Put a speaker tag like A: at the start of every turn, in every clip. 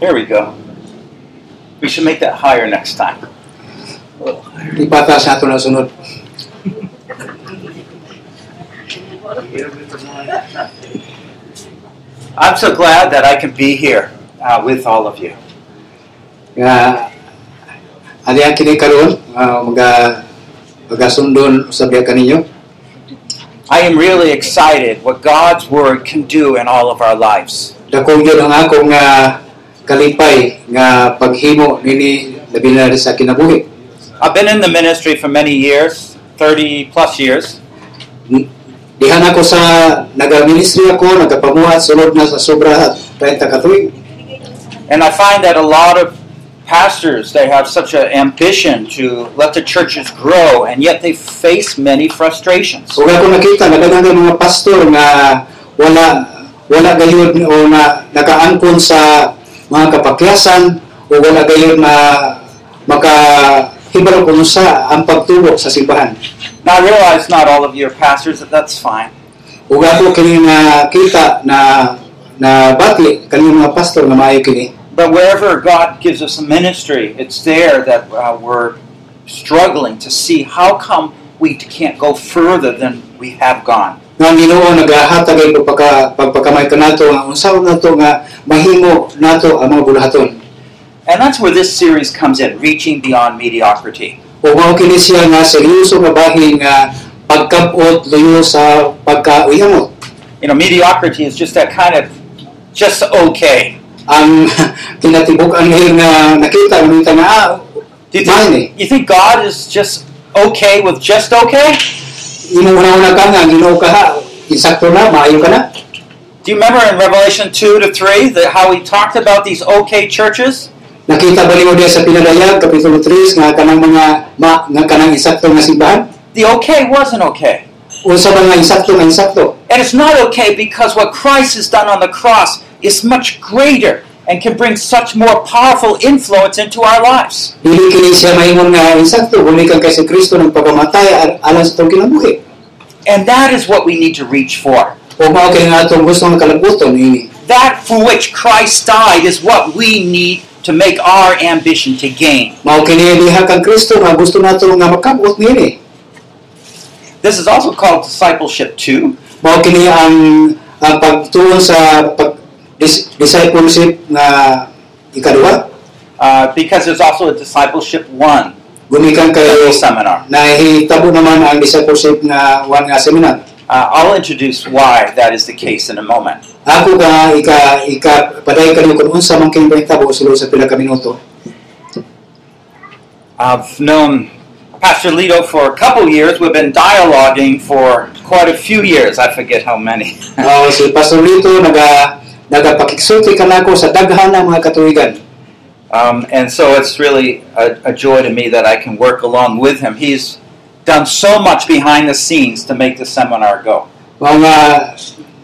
A: There we go. We should make that higher next time.
B: Ipatas ato na sunod.
A: I'm so glad that I can be here uh, with all of you.
B: Nga, ano yan kini karon uh, mga magasundon sabiya kaninyo.
A: I am really excited what God's Word can do in all of our lives.
B: Dako yun ang ako nga kalipay nga paghimo nini labi na rin sa kinabuhi.
A: I've been in the ministry for many years 30 plus years.
B: Dihan ako sa nagaministry ako, nagapamuhat, sunod na sa sobra at 30 katuig.
A: And I find that a lot of pastors they have such an ambition to let the churches grow and yet they face many frustrations.
B: Huwag ako nakita, nagandang mga pastor nga wala wala gayud o na nakaangkon sa mga kapakyasan o wala gayud na maka hibaro kung sa ang pagtulog sa simbahan.
A: Now I realize not all of you are pastors, but that's fine.
B: Huwag ako kini nga kita na na batli kani mga pastor nga maayo kini.
A: But wherever God gives us a ministry, it's there that uh, we're struggling to see how come we can't go further than we have gone.
B: Nga ang Ginoo nagahatag ay pagpaka, pagpakamay kanato nga unsaon nato nga mahimo nato ang mga bulahaton.
A: And that's where this series comes in, reaching beyond mediocrity.
B: o mao kini siya nga seryoso nga bahin nga pagkabot luyo sa ano, pagkauyamot.
A: You know, mediocrity is just that kind of just okay.
B: Ang kinatibuk-an ngayon nga nakita ng mga nga ah,
A: Do you
B: mahal
A: think,
B: ni.
A: you think God is just okay with just okay?
B: Inuuna-una ka nga, ginoo ka ha, insakto na, maayo ka na.
A: Do you remember in Revelation 2 to 3 that how he talked about these okay churches?
B: Nakita ba niyo diya sa Pinadayag, Kapitulo 3, nga kanang mga, ma, nga kanang insakto nga simbahan?
A: The okay wasn't okay.
B: Unsa ba nga insakto nga insakto?
A: And it's not okay because what Christ has done on the cross is much greater and can bring such more powerful influence into our lives.
B: Dili kini siya maingon nga insakto, bulikan kay si Kristo ng pagkamatay al- alang sa itong kinabuhi.
A: And that is what we need to reach for.
B: O mao kay nga atong gusto nga kalabuton ini.
A: That for which Christ died is what we need to make our ambition to gain.
B: Mao kini diha kang Kristo nga gusto nato nga makabot niini.
A: This is also called discipleship 2.
B: Mao kini ang ang pagtuon sa pag dis, discipleship nga ikaduha
A: Uh, because there's also a discipleship one
B: gumikan kay
A: seminar.
B: nahitabo naman ang discipleship nga one nga seminar.
A: Uh, I'll introduce why that is the case in a moment.
B: Ako ka ika ika paday kanyo kun unsa man kay mahitabo sulod sa pila ka minuto.
A: I've known Pastor Lito for a couple years. We've been dialoguing for quite a few years. I forget how many.
B: Mao si Pastor Lito naga nagapakigsulti kanako sa daghan ng mga katuigan.
A: Um, and so it's really a, a joy to me that I can work along with him. He's done so much behind the scenes to make the seminar go.
B: mga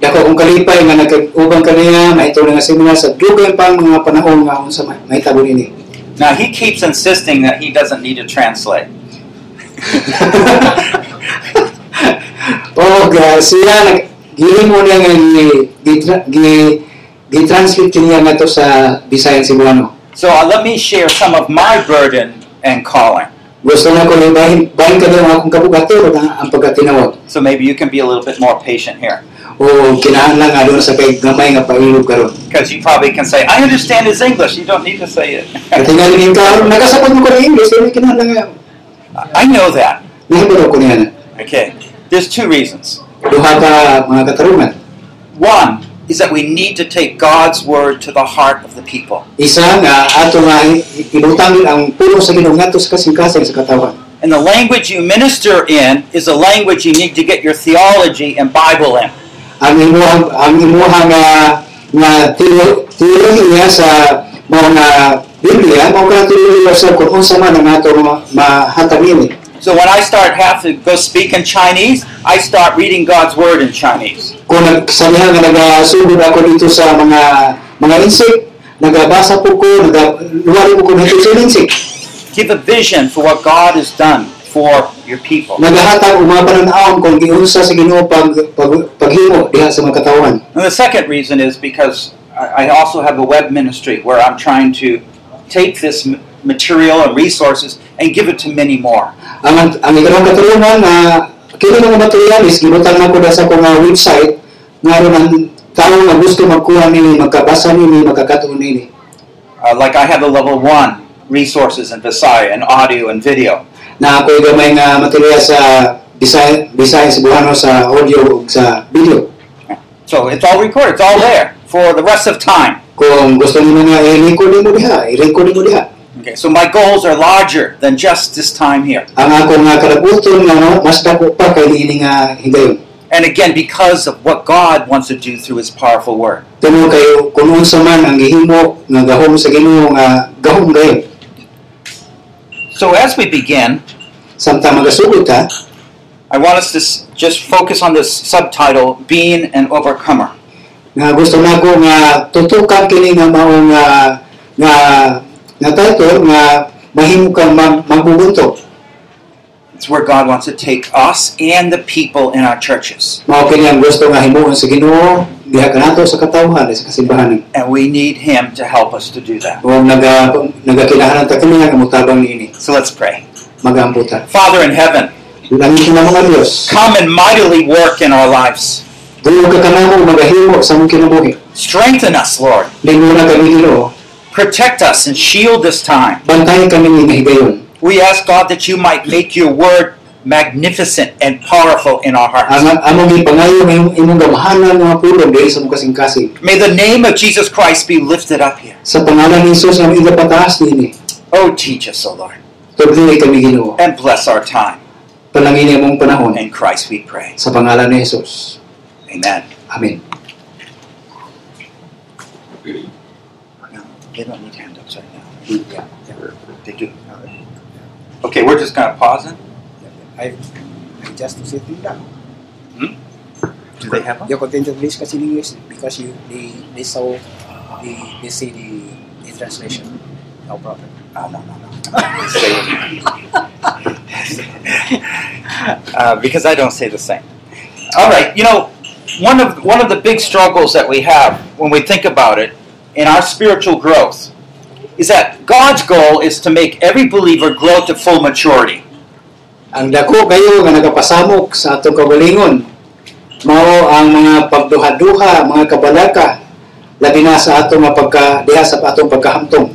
B: dako kong kalipay nga nagkag-ubang kaniya mahitabo na nga seminar sa dugay pang mga panahon nga unsa may- mahitabo nini
A: Now, he keeps insisting that he doesn't need to translate.
B: o ga siya nag gili mo niya nga ni- gitra- gi gi-translate niya nga to sa Bisayan Cebuano
A: So uh, let me share some of my burden and calling.
B: gusto na ko ni bahin bahin ka ang akong kabugato na ang pagkatinawag
A: So maybe you can be a little bit more patient here.
B: o kinahanglan nga doon sa kay gamay nga pailog karon
A: Because you probably can say, I understand his English. You don't need to say it.
B: katingali ni karon nagasabot mo ko ni English dili kinahanglan nga
A: I know that.
B: nahibalo ko niya na
A: Okay, there's two reasons.
B: duha ka mga katarungan
A: One is that we need to take God's word to the heart of the people.
B: Isa nga ato nga ibutangin ang puno sa Ginoo ngadto sa kasing-kasing sa katawan.
A: And the language you minister in is a language you need to get your theology and Bible in.
B: Ang imuhang ang imuhang nga nga teo- teolohiya sa mga nga Biblia mao ka teolohiya sa kung unsa man ang ato ma- mahatag ini.
A: So when I start have to go speak in Chinese, I start reading God's word in Chinese.
B: Kung nagsamihan nga nagasugod ako dito sa mga mga insik, nagabasa po ko, nagaluwari po ko ng sa insik.
A: Give a vision for what God has done for your people.
B: Nagahatag og mga pananaon kung giunsa sa Ginoo pag, pag paghimo diha sa mga katawan.
A: And the second reason is because I I also have a web ministry where I'm trying to take this m- material and resources and give it to many more.
B: ang ang ikanang katulungan nga kini nga material is gibutang na ko na sa akong ah, website ngaron ang tao nga gusto magkuha nini magkabasa nini magkakatuon nini
A: Uh, like I have a level one resources in Visaya and audio and video.
B: na ako'y gamay nga material sa design design sa buhano sa audio ug sa video
A: So it's all recorded. It's all there for the rest of time.
B: kung gusto nimo nga i-record nimo diha i-record nimo diha
A: Okay. So my goals are larger than just this time here.
B: ang ako nga kalabuton nga no, mas dako pa kay niini nga higayon
A: And again, because of what God wants to do through His powerful Word.
B: tumo kayo kung unsa man ang gihimo nga gahom sa Ginoo nga gahom gayon
A: So as we begin,
B: samtang magasugod ka
A: I want us to s- just focus on this subtitle, Being an Overcomer.
B: nga gusto nako nga tutukan kini nga mao nga nga nga title nga mahimo kang mag, magbubunto
A: It's where God wants to take us and the people in our churches.
B: mao kini ang gusto nga himuon sa Ginoo diha kanato sa katawhan sa kasimbahan
A: And we need Him to help us to do that.
B: o naga nagakinahanglan ta kini nga mutabang niini
A: So let's pray.
B: magamputa
A: Father in heaven,
B: langit na mga Dios
A: come and mightily work in our lives.
B: dulo ka kanamo magahimo sa among kinabuhi
A: Strengthen us, Lord.
B: lingura kami Ginoo
A: Protect us and shield this time.
B: bantayan kami ni higayon
A: We ask God that you might make your word magnificent and powerful in our hearts.
B: ang among gipangayo nga imong- imong gamahanan nga pulong diri sa mukasing kasing
A: May the name of Jesus Christ be lifted up here.
B: sa pangalan ni Hesus nga mga pataas niini
A: Oh, teach us, O Lord,
B: Tugdili kami Ginoo.
A: and bless our time.
B: oh. Panangin niya mong panahon. eh.
A: In Christ we pray.
B: Sa pangalan ni Jesus.
A: Amen.
B: Amen.
A: They don't need handups right now. Yeah, yeah, they do. Okay, we're just kind of pausing.
C: I, I just sit them down.
A: Do they have them?
C: You continue to list kasi in English because you they they saw uh, they they see the the translation. No problem.
A: Oh, no, no, no. Stay with me. uh, because I don't say the same. All right, you know, one of one of the big struggles that we have when we think about it in our spiritual growth is that God's goal is to make every believer grow to full maturity.
B: Ang dako kayo nga nagapasamok sa atong kabalingon. Mao ang mga pagduha-duha, mga kabalaka labi na sa atong mga pagka diha sa atong pagkahamtong.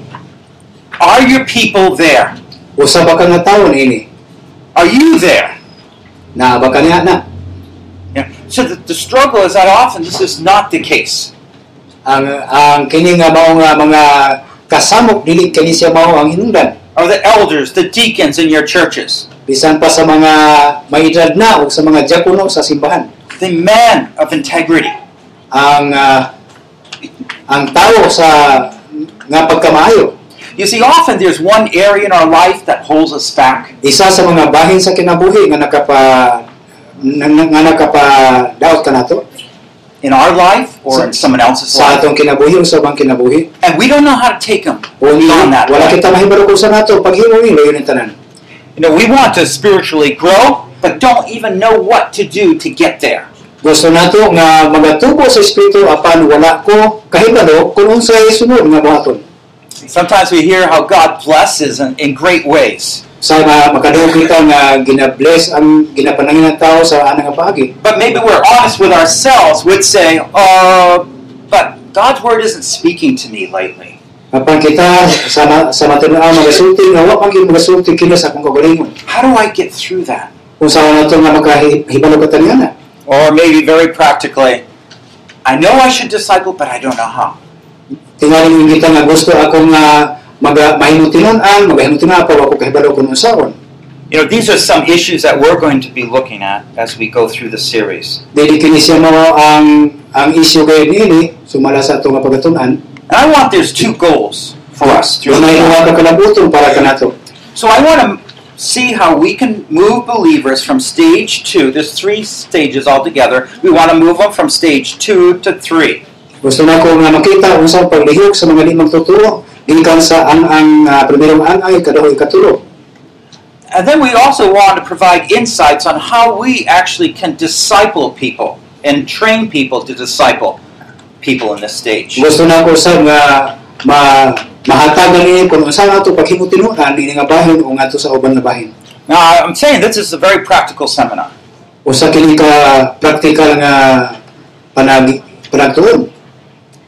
A: Are your people there?
B: Usa ba ka nga tawo niini?
A: Are you there?
B: Naa ba ka niya na?
A: Yeah. So the, the struggle is that often this is not the case.
B: Ang ang kini nga mao nga mga kasamok dili kini siya mao ang hinungdan.
A: Are the elders, the deacons in your churches,
B: Bisan pa sa mga maedad na o sa mga diakono sa simbahan.
A: the men of integrity?
B: ang ah, ang tao sa nga pagkamaayo.
A: You see, often there's one area in our life that holds us back.
B: Isa sa mga bahin sa kinabuhi nga nakapa na, na- nga nakapa daot kanato
A: In our life or in someone else's
B: sa
A: life.
B: atong kinabuhi o sa bang kinabuhi.
A: And we don't know how to take them.
B: O ni,
A: Beyond that,
B: wala
A: right?
B: kita mahibaro sa nato pag himuwi layo ng tanan.
A: You know, we want to spiritually grow, but don't even know what to do to get there.
B: Gusto nato nga magatubo sa espiritu apan wala ko kahibalo kung unsay sunod nga buhaton.
A: Sometimes we hear how God blesses in, in great ways,
B: Sa mga makadaog kita nga ginabless ang ginapanangin ng tao sa anang nga paagi.
A: but maybe we're honest with ourselves, would say, uh, but God's word isn't speaking to me lately.
B: Apan kita sa ma- sa matinuan magasulti nga wa pagin magasulti kini sa akong kagalingon.
A: How do I get through that?
B: Kung sa na to nga makahibalo ka taniyana.
A: Or maybe very practically, I know I should disciple, but I don't know how.
B: Tingali yung kita nga gusto ako nga maga mahinutinon-an, magahinutina pa ako kahibalo kun unsaon.
A: You know, these are some issues that we're going to be looking at as we go through the series.
B: Dili kini siya mao ang ang issue kay niini sumala sa ato nga pagatun-an.
A: And I want there's two goals for us. through-
B: Yung may duha ka kalabuton para kanato.
A: So I want to see how we can move believers from stage two. There's three stages altogether. We want to move them from stage two to three.
B: Gusto nako nga makita unsa ang paglihok sa mga di magtuturo gikan sa ang ang uh, primerong ang ay kadahoy katulo.
A: And then we also want to provide insights on how we actually can disciple people and train people to disciple people in this stage.
B: Gusto na ko sad nga ma mahatagan ni kung unsa nga to paghimutinuna ni nga bahin o nga to sa uban na bahin.
A: Now, I- I'm saying this is a very practical seminar.
B: Usa kini ka praktikal nga panagi panagtuon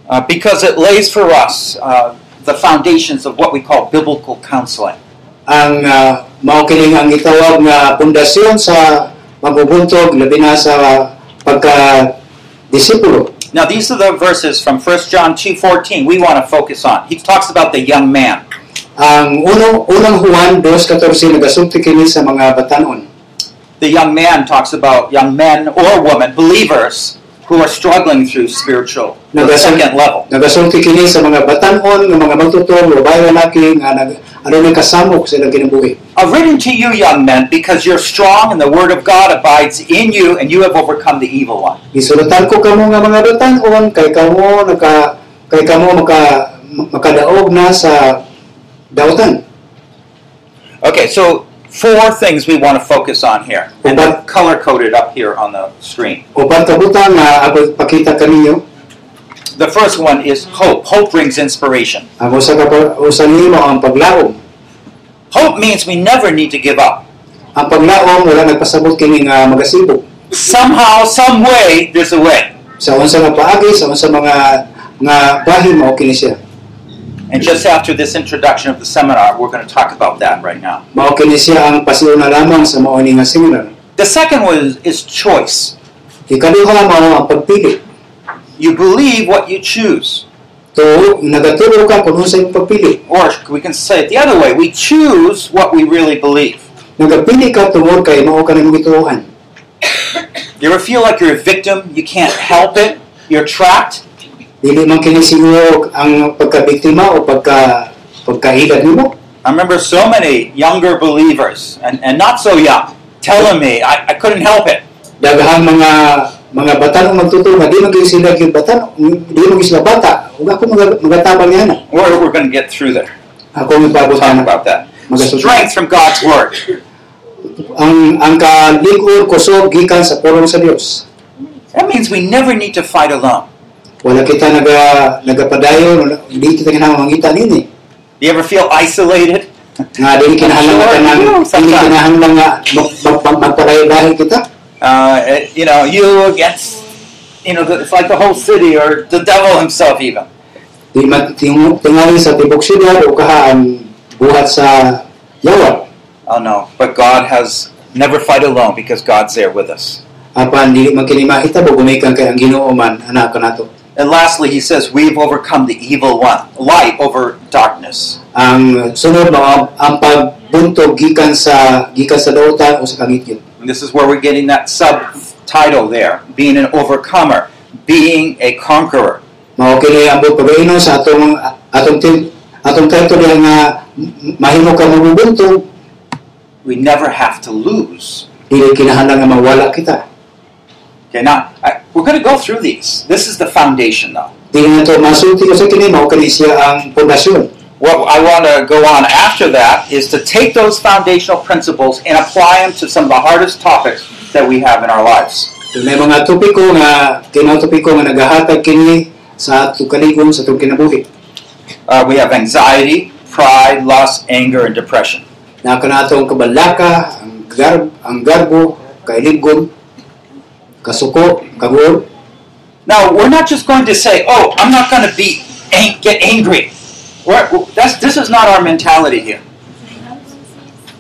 A: uh, because it lays for us uh, the foundations of what we call biblical counseling.
B: ang uh, mao kini ang gitawag nga pundasyon sa pagbubuntog labi na sa pagka disipulo.
A: Now, these are the verses from 1 John 2.14 we want to focus on. He talks about the young man.
B: Ang unang unang Juan 2:14 nagasumti kini sa mga batanon.
A: The young man talks about young men or women, believers, who are struggling through spiritual,
B: No,
A: the
B: that's-
A: second level.
B: Nagasumti kini sa mga batanon nga mga magtutong babae lalaki nga nag ano ni kasamok sa ilang kinabuhi.
A: I've written to you, young men, because you're strong and the word of God abides in you and you have overcome the evil one.
B: Gisulatan ko kamo nga mga batanon kay kamo naka kay kamo maka makadaog na sa dautan.
A: Okay, so four things we want to focus on here. And
B: Okay.
A: they're color-coded up here on the screen.
B: Uban ka butang nga ako pakita kaninyo
A: The first one is hope. Hope brings inspiration.
B: ang usa ka pa- usa nimo ang paglaom.
A: Hope means we never need to give up.
B: Ang paglaom wala nagpasabot kini nga magasibok.
A: Somehow, some way, there's a way.
B: Sa unsa nga paagi sa unsa mga nga bahin mao kini siya.
A: And just after this introduction of the seminar, we're going to talk about that right now.
B: Mao kini siya ang pasiuna lamang sa mao ni nga seminar.
A: The second one is, is choice.
B: Ikaduha mao ang pagpili.
A: You believe what you choose.
B: To nagaturo ka kung unsa imong pagpili.
A: Or we can say it the other way we choose what we really believe.
B: Nagapili ka tungod kay mao ka nimong gituohan.
A: You ever feel like you're a victim? You can't help it? You're trapped?
B: Dili man kini siguro ang pagkabiktima o pagka pagkahilad nimo.
A: I remember so many younger believers, and, and not so young, telling me I, I couldn't help it.
B: daghang mga mga bata ang magtuturo nga di man gyud sila gyud bata di man gyud sila bata ug ako mga mga tabang niya na
A: We're, we're going to get through there.
B: ako ang
A: We'll
B: pabot
A: talk
B: na
A: about that.
B: Magasusod.
A: Strength from God's Word.
B: ang ang kalig-on kusog gikan sa pulong sa Dios
A: That means we never need to fight alone.
B: wala kita naga nagapadayon wala- di kita kinahanglan mangita nini
A: Do you ever feel isolated?
B: nga di kinahanglan
A: Sure,
B: ka nang
A: yeah,
B: di
A: sometimes.
B: kinahanglan nga mag- mag- mag- magpadayon-dayon kita
A: Uh, it- you know, you against, you know, the- it's like the whole city or the devil himself, even.
B: di matingo tingali sa tibok sila o kahaan buhat sa yawa
A: Oh no, but God has never fight alone because God's there with us.
B: apan dili man kini mahitabo gumikan kay ang Ginoo man anak kanato
A: And lastly, he says, We've overcome the evil one, light over darkness.
B: ang sunod mao ang, ang pagbuntog gikan sa gikan sa dautan o sa kangitgit.
A: And this is where we're getting that subtitle there being an overcomer, being a conqueror.
B: Mao kini ang buot pagainon sa atong atong tin atong title diha nga m- mahimo ka mabubuntog
A: We never have to lose.
B: dili kinahanglan nga mawala kita.
A: Okay, now I, we're going to go through these. This is the foundation, though.
B: Dili na to masulti ko sa kini mao kini siya ang pundasyon.
A: What I want to go on after that is to take those foundational principles and apply them to some of the hardest topics that we have in our lives.
B: May mga topiko nga kinaw topiko nga nagahatag kini sa atong kaligong sa atong kinabuhi.
A: Uh, we have anxiety, pride, lust, anger, and depression.
B: Na kanato ang kabalaka, ang garb, ang garbo, kailiggon, kasuko, kagul,
A: Now, we're not just going to say, "Oh, I'm not going to be an- get angry." We're, that's this is not our mentality here.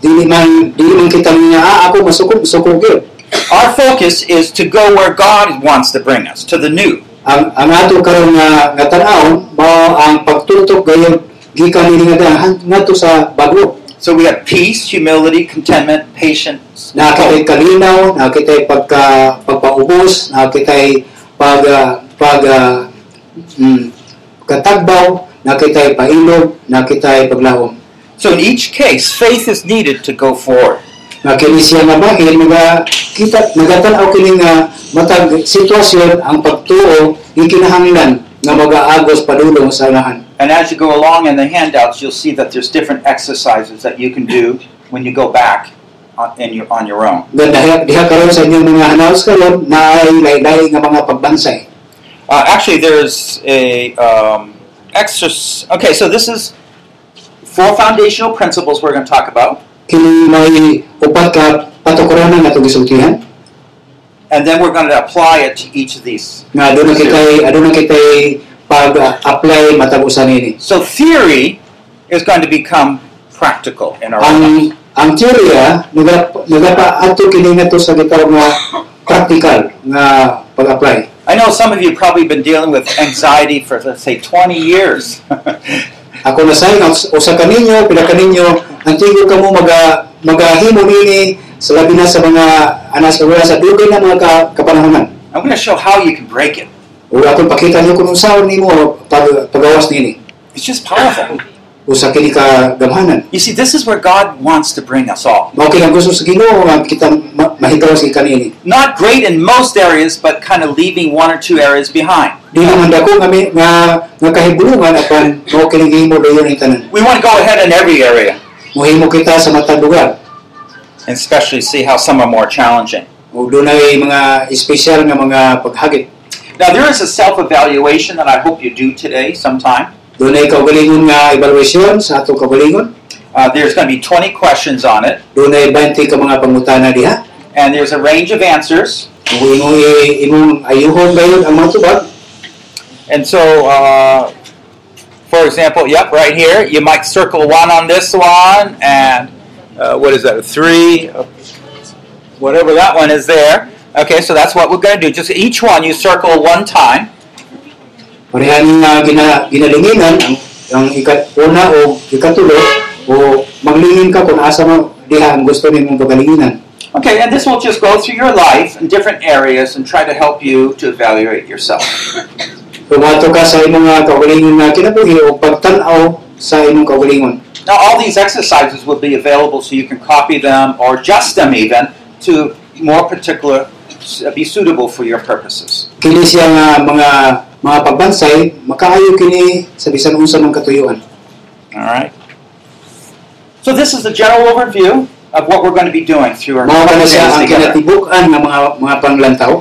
B: dili man dili man kita niya ah, ako masukog sukog gyud
A: Our focus is to go where God wants to bring us to the new.
B: ang ang ato karon nga nga tan-awon mao ang pagtutok gayud gikan ni nga dahan ngadto sa bago
A: So we have peace, humility, contentment, patience. and hope.
B: nakakitay kalinaw nakakitay pagka pagpaubos nakakitay pag ah, pag ah, mm, katagbaw nakakitay pailog nakakitay paglahom
A: So in each case, faith is needed to go forward.
B: nga kini siya nga bahin nga kita nagatan-aw kini nga matag sitwasyon ang pagtuo gikinahanglan nga mag-aagos padulong sa unahan
A: And as you go along in the handouts, you'll see that there's different exercises that you can do when you go back on, in your, on your own.
B: Nga diha, diha karon sa inyong mga hanaws karon naay laylay nga mga pagbansay.
A: Uh, actually, there's a um, exercise. Okay, so this is four foundational principles we're going to talk about,
B: kini may upat ka patukuranan na itong gisultihan
A: and then we're going to apply it to each of these.
B: nga doon na kitay aduna kitay pag-apply matag usa nini
A: So theory is going to become practical in our lives.
B: ang ang ya, teorya nagapa nagapaadto kini nga to sa gitawag nga practical nga pag-apply
A: I know some of you probably been dealing with anxiety for let's say 20 years.
B: ako na sa inyo usa ka ninyo pila ka ninyo ang tingog kamo maga magahimo nini sa labi na sa mga anas sa sa dugay na mga ka, kapanahonan
A: I'm going to show how you can break it.
B: o ato pakita niyo kung unsaon nimo pag pagawas nini
A: It's just powerful.
B: usa kini ka gamhanan
A: You see, this is where God wants to bring us all.
B: mao kini ang gusto sa Ginoo nga kita ma- mahigaw sa kanini
A: Not great in most areas, but kind of leaving one or two areas behind.
B: di naman dako nga may- nga nga kahibulungan apan mao kini gihimo dayon ang tanan
A: We want to go ahead in every area,
B: mohimo kita sa matag lugar
A: and especially see how some are more challenging.
B: o dunay mga espesyal nga mga paghagit
A: Now, there is a self evaluation that I hope you do today sometime.
B: dunay kaugalingon nga evaluation sa ato kaugalingon
A: Uh, there's going to be 20 questions on it,
B: dunay 20 ka mga pangutana diha
A: and there's a range of answers.
B: kung imong i- imong ayuhon gayon ang mga tubag
A: And so, uh, for example, yep, right here, you might circle one on this one, and uh, what is that, a three, uh, whatever that one is there. Okay, so that's what we're going to do. Just each one you circle one time,
B: parehan nga gina, ginalinginan ang ang ikat una o ikatulo o maglingin ka kung asa mo diha ang gusto nimong pagalinginan
A: Okay, and this will just go through your life in different areas and try to help you to evaluate yourself.
B: Pumato ka sa imong mga kaugalingon na kinabuhi o pagtanaw sa imong kaugalingon.
A: Now, all these exercises will be available so you can copy them or adjust them even to more particular, be suitable for your purposes.
B: Kini siya nga mga mga pagbansay makaayo kini sa bisan unsa man katuyuan.
A: All right? So, this is the general overview of what we're going to be doing through our
B: Mao ka na
A: days
B: siya ang
A: together.
B: kinatibuk-an ng mga mga panglantaw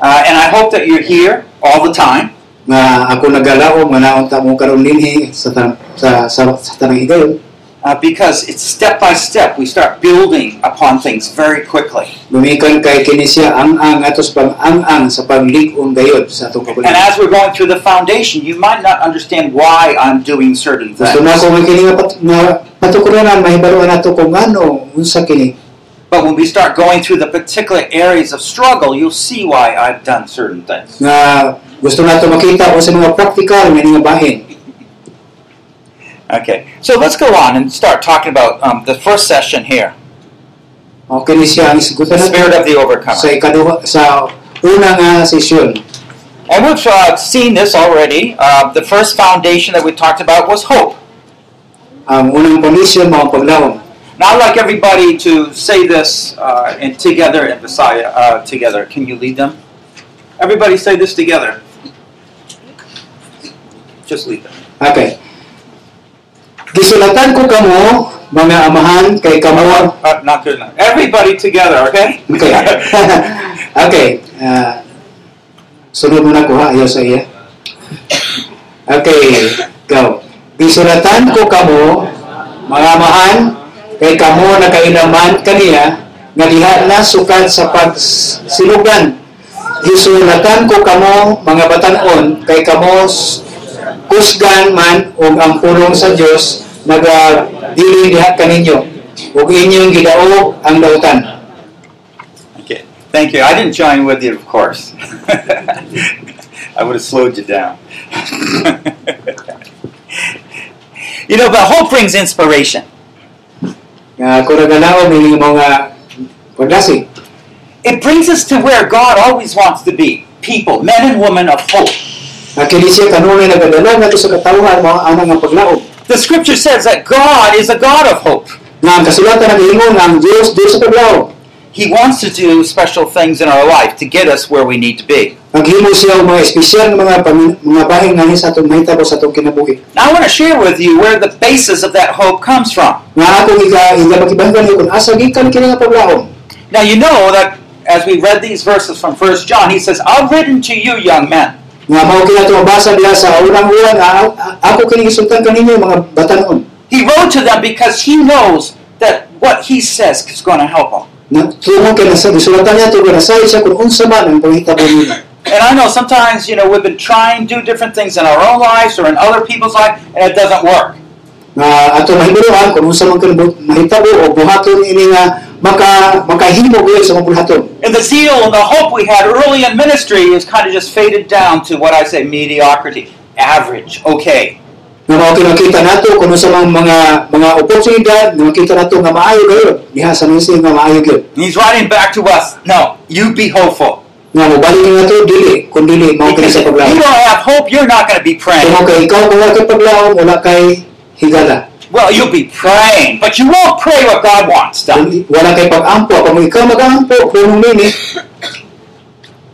A: Uh, and I hope that you're here all the time.
B: nga ako nagalao nga naon ta mo karon dinhi sa tan- sa sa, sa tanang higayon
A: uh, because it's step by step. We start building upon things very quickly.
B: Gumikan kay kini siya ang ang atos pang ang ang sa paglig-on gayod sa atong
A: And
B: kaugalingon.
A: as we're going through the foundation, you might not understand why I'm doing certain
B: Gusto
A: things.
B: na ko nga kini nga pat, nga patukuranan mahibaruan nato kung ano unsa kini
A: But when we start going through the particular areas of struggle, you'll see why I've done certain things.
B: nga gusto nato makita kung sa mga practical nga mga bahin.
A: Okay, so let's go on and start talking about um, the first session here
B: Okay ni siya ang
A: the
B: isgutan
A: spirit
B: nato
A: of the
B: sa
A: overcomer.
B: ikaduha sa una nga sesyon.
A: And we've uh, seen this already. Uh, the first foundation that we talked about was hope.
B: Ang unang pamisyon mao ang paglaom.
A: Now, I'd like everybody to say this uh, and together in Messiah, uh, together. Can you lead them? Everybody say this together. Just lead them.
B: Okay. Gisulatan ko kamo mga amahan kay kamo
A: Uh, not good enough. Everybody together, okay?
B: Okay. okay. ah, sunod muna ko ha, ayaw sa iya. Okay, go. Gisulatan ko kamo, mga mahan, kay kamo nakainaman kaniya, nga diha na sukad sa pagsilugan. Gisulatan ko kamo, mga batanon, kay kamo s- kusgan man o ang pulong sa Dios nagadili diha kaninyo ug inyong gidaog ang lautan.
A: okay. Thank you. I didn't join with you, of course. I would have slowed you down. you know, but hope brings inspiration.
B: nga kung nagalaw may mga pagdasi
A: It brings us to where God always wants to be people, men and women of hope.
B: nga kini siya kanunay nagadala nga sa katawhan mao ana nga paglaom
A: The scripture says that God is a God of hope.
B: nga ang kasulatan nagaingon nga ang Dios Dios sa paglaom
A: He wants to do special things in our life to get us where we need to be.
B: naghimo siya og mga espesyal nga mga pami- mga bahin nga sa atong mahitabo sa atong kinabuhi
A: Now, I want to share with you where the basis of that hope comes from.
B: nga ako iga iga magibanggan niyo kung asa gikan kini nga paglaom
A: Now, you know that as we read these verses from 1 John, he says, I've written to you, young men.
B: Nga mao kina to mabasa diha sa urang ulan a- a- ako kini gisultan kaninyo mga batanon.
A: He wrote to them because he knows that what he says is going to help them.
B: Na tumo kay nasa gisulatan niya to na sa siya kung unsa man ang panghitabo nila.
A: And I know sometimes, you know, we've been trying to do different things in our own lives or in other people's lives, and it doesn't work.
B: Nga ato mahiburuan kung unsa man kini mahitabo o buhaton ini nga maka makahimo gyud sa mga buhaton.
A: And the zeal and the hope we had early in ministry is kind of just faded down to what I say mediocrity, average, okay.
B: nga mao kinakita nato kung sa mga mga mga oportunidad nga makita nato nga maayo kayo diha sa misi nga maayo gyud
A: And he's writing back to us, no, you be hopeful.
B: nga mobalik nato dili kun dili mao kini
A: Because
B: sa
A: if you don't
B: paglaom
A: have hope, you're not going to be
B: kung
A: praying.
B: mao kay ikaw kung wala kay paglaom wala kay higala
A: Well, you'll be praying, but you won't pray what God wants done.
B: Kung wala kay pagampo kung ikaw magampo kung nini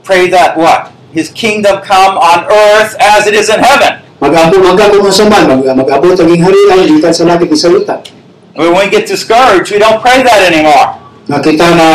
A: Pray that what? His kingdom come on earth as it is in heaven.
B: magampo magka kung unsa man mag magabot ang hari ang gikan sa langit sa luta
A: When we get discouraged, we don't pray that anymore.
B: nga kita na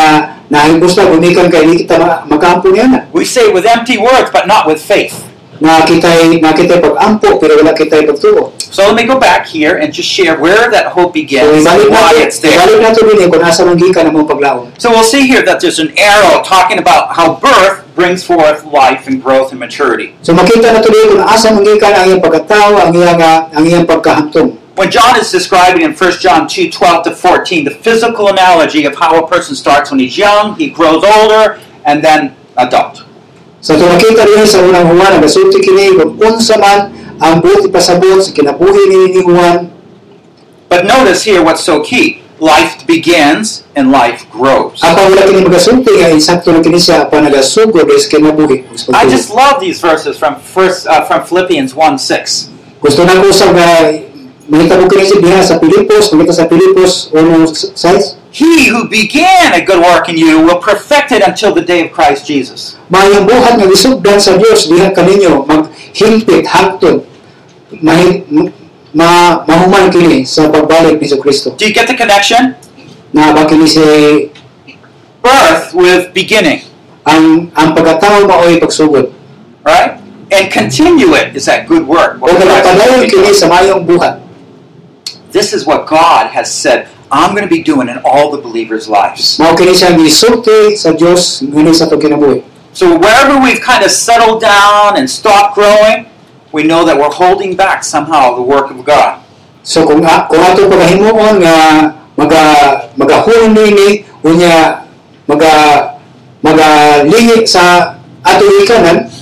B: nahibos na gumikan kay di kan kita ma- makampo niya na
A: We say it with empty words, but not with faith.
B: nga kita nga kita pagampo pero wala kita pagtuo
A: So let me go back here and just share where that hope begins
B: kung
A: and
B: ibalik
A: why
B: nato
A: it's there.
B: ibalik nato dili kung asa man gikan ang mong paglaom
A: So we'll see here that there's an arrow talking about how birth brings forth life and growth and maturity.
B: So makita na tuloy kung asa manggikan ang iyang pagkatao, ang iyang ah, ang iyang pagkahantong.
A: When John is describing in 1 John 2 12 to 14 the physical analogy of how a person starts when he's young, he grows older, and then adult.
B: So ito makita rin sa unang Juan ang kasulti kini kung unsa man ang buot ipasabot sa kinabuhi ni ni Juan.
A: But notice here what's so key life begins and life grows.
B: Apa wala kini magasulti nga insakto na kini siya apa nagasugod is kinabuhi. Gusto-
A: I just love these verses from first uh, from Philippians 1 6.
B: gusto na ko sa nga mahitabo kini siya diha sa Pilipos, makita sa Pilipos ano 1:6.
A: He who began a good work in you will perfect it until the day of Christ Jesus.
B: Mayang buhat nga gisugdan sa Dios diha kaninyo maghimpit hangtod. Mahi, ma, mahuman kini sa pagbalik ni Kristo.
A: Do you get the connection?
B: na bakini si
A: Birth with beginning,
B: ang ang pagkatao maoy pagsugod.
A: right? And continue it is that good work.
B: O kalapadayon kini sa mayong buhat.
A: This is what God has said I'm going to be doing in all the believers' lives.
B: Mao kini siya gisulti sa Dios ngini sa tong kinabuhi.
A: So wherever we've kind of settled down and stopped growing, we know that we're holding back somehow the work of God.
B: So kung a, kung ato pagahimuon nga maga magahulon nini unya maga magalingi sa ato ikanan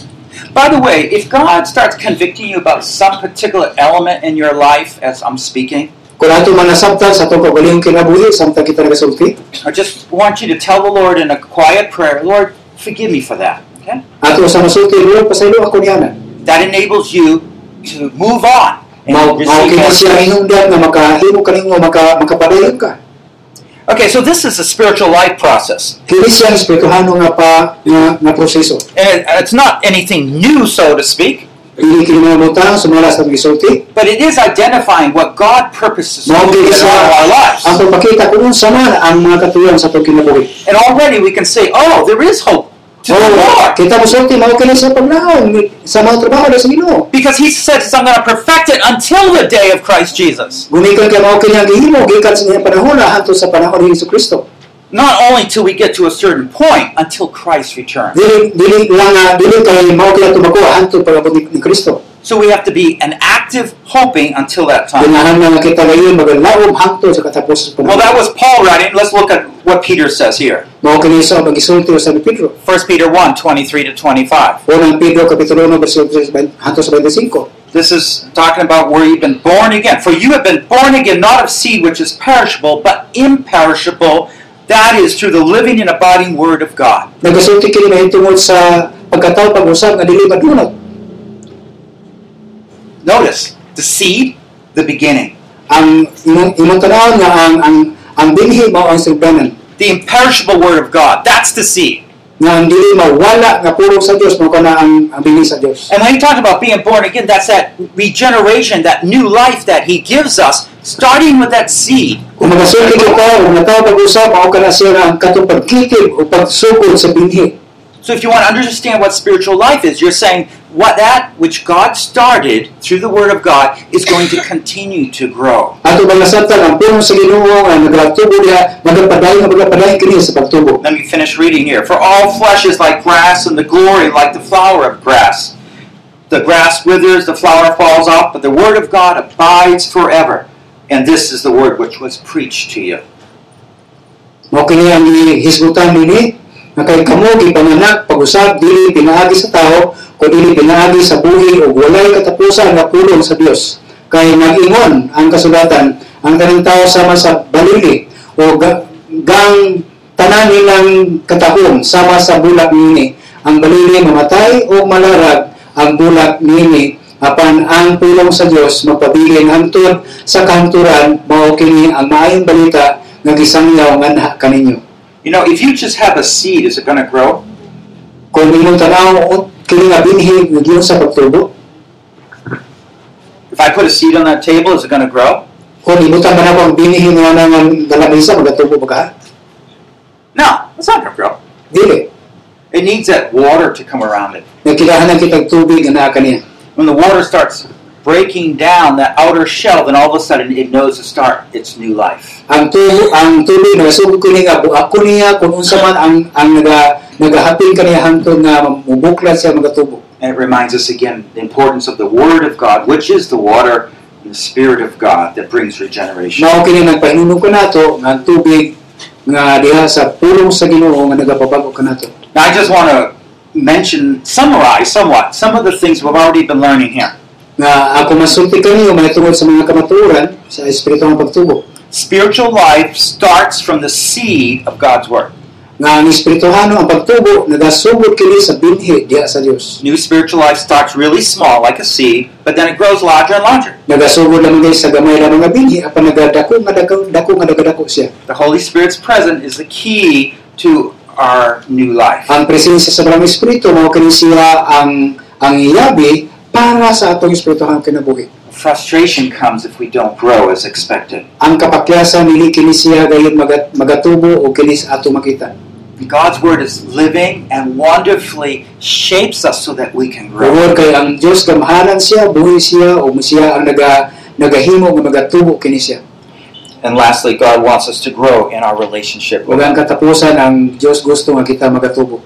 A: By the way, if God starts convicting you about some particular element in your life as I'm speaking,
B: kung ato manasabtan sa tong pagalingong kinabuhi samtang kita nagasulti
A: I just want you to tell the Lord in a quiet prayer, Lord, forgive me for that. Okay?
B: ato sa masulti Lord pasaylo ako niyanan.
A: That enables you to move on and
B: Mao mao
A: receive
B: kini
A: more.
B: siya hinungdan nga makahimo kanimo maka makapadayon ka.
A: Okay, so this is a spiritual life process.
B: Kini siya ang espirituhano nga pa nga, nga proseso.
A: And it's not anything new, so to speak,
B: Hindi kinamutang sumala sa gisulti.
A: but it is identifying what God purposes to
B: Mao
A: do
B: kini
A: in all of
B: siya
A: our
B: ang
A: lives.
B: pagpakita kung unsa man ang mga katuyang sa itong kinabuhi.
A: And already we can say, oh, there is hope to the
B: Oh,
A: Lord.
B: kita mo sulti mao kini sa paglaom sa mga trabaho na sa Ginoo.
A: Because he says, I'm going to perfect it until the day of Christ Jesus.
B: Gumikan kay mao kini ang gihimo gikan sa iyang panahon hantud sa panahon ni Hesus Kristo.
A: Not only till we get to a certain point, until Christ returns.
B: Dili dili lang nga dili kay mao kini tumako hantud pagabot ni ni Kristo.
A: So we have to be an active hoping until that time.
B: Ganahan na nga kita ngayon maglaom hantud sa katapusan sa
A: Well,
B: panahon.
A: that was Paul writing. Let's look at what Peter says here.
B: Mao kini sa magisulti sa ni Pedro.
A: 1 Peter 1 23 to 25.
B: Unang Pedro kapitulo 1 versikulo 25.
A: This is talking about where you've been born again. For you have been born again, not of seed which is perishable, but imperishable. That is through the living and abiding Word of God.
B: Nagasulti kini na tungod sa pagkatao pag-usab nga dili madunot.
A: Notice the seed, the beginning.
B: Ang imong imong tanaw nga ang ang ang binhi mao ang sugdanan.
A: The imperishable Word of God. That's the seed.
B: Nga ang dili mawala nga pulong sa Dios mao kana ang ang binhi sa Dios.
A: And when he talked about being born again, that's that regeneration, that new life that he gives us, starting with that seed.
B: Kung magasulti ka ka og nataw pag-usab mao kana siya nga ang katong pagkitib o pagsugod sa binhi.
A: So if you want to understand what spiritual life is, you're saying what that which God started through the Word of God is going to continue to grow.
B: Ato ba nasabtan ang puno sa Ginoo nga nagatubo niya, magapadayon nga magapadayon kini sa pagtubo.
A: Let me finish reading here. For all flesh is like grass, and the glory like the flower of grass. The grass withers, the flower falls off, but the word of God abides forever. And this is the word which was preached to you.
B: Mao kini ang hisgutan nini nga kay kamo gipanganak pag-usab dili pinaagi sa tao kun dili pinaagi sa buhi ug walay katapusan nga pulong sa Dios. Kay nag-ingon ang kasulatan ang tanang tao sama sa balili o ga- gang tanan nilang katahong sama sa bulak nini. Ang balili mamatay o malarag ang bulak nini apan ang pulong sa Dios magpabilin hangtod sa kanturan mao kini ang maayong balita nga gisangyaw nga naa kaninyo.
A: You know, if you just have a seed, is it going to grow?
B: Kung inyong tanaw o kini nga binhi nga Dios sa pagtubo,
A: If I put a seed on that table, is it going to grow?
B: kung ibutan man ako ang binhi nga na nga dalamisa magatubo ba ka?
A: No, it's not going to grow.
B: Dili.
A: It needs that water to come around it.
B: Nagkilahanan kitang tubig nga naa kaniya.
A: When the water starts breaking down that outer shell, then all of a sudden it knows to start its new life.
B: ang tubo ang tubig nga sugod ko niya buak ko niya kung unsa man ang ang naga nagahapil kaniya hangtod nga mubuklat siya magatubo.
A: And it reminds us again the importance of the Word of God, which is the water and the Spirit of God that brings regeneration.
B: Mao kini nagpahinuno ko nato nga ang tubig nga diha sa pulong sa Ginoo nga nagapabago kanato.
A: Now, I just want to mention, summarize somewhat, some of the things we've already been learning here.
B: Nga ako masulti kaniyo manitungod sa mga kamatuoran sa espiritu nga pagtubo.
A: Spiritual life starts from the seed of God's Word.
B: Nga ang espirituhano ang pagtubo nagasugod kini sa binhi diha sa Dios.
A: New spiritual life starts really small, like a seed, but then it grows larger and larger.
B: Nagasugod lamang dahil sa gamay lamang nga binhi apan nagadako nga dako dako nga nagadako siya.
A: The Holy Spirit's presence is the key to our new life.
B: ang presensya sa Brahma Espiritu mao kini siya ang ang iyabi para sa atong espirituhang kinabuhi.
A: Frustration comes if we don't grow as expected.
B: Ang kapakyasan nili kini siya gayon magat, magatubo o kini sa ato makita.
A: God's word is living and wonderfully shapes us so that we can grow.
B: Buhol kay ang Dios gamahalan siya, buhi siya o mo siya ang naga nagahimo nga magatubo kini siya.
A: And lastly, God wants us to grow in our relationship with
B: Ug
A: Him.
B: ang katapusan ang Dios gusto nga kita magatubo.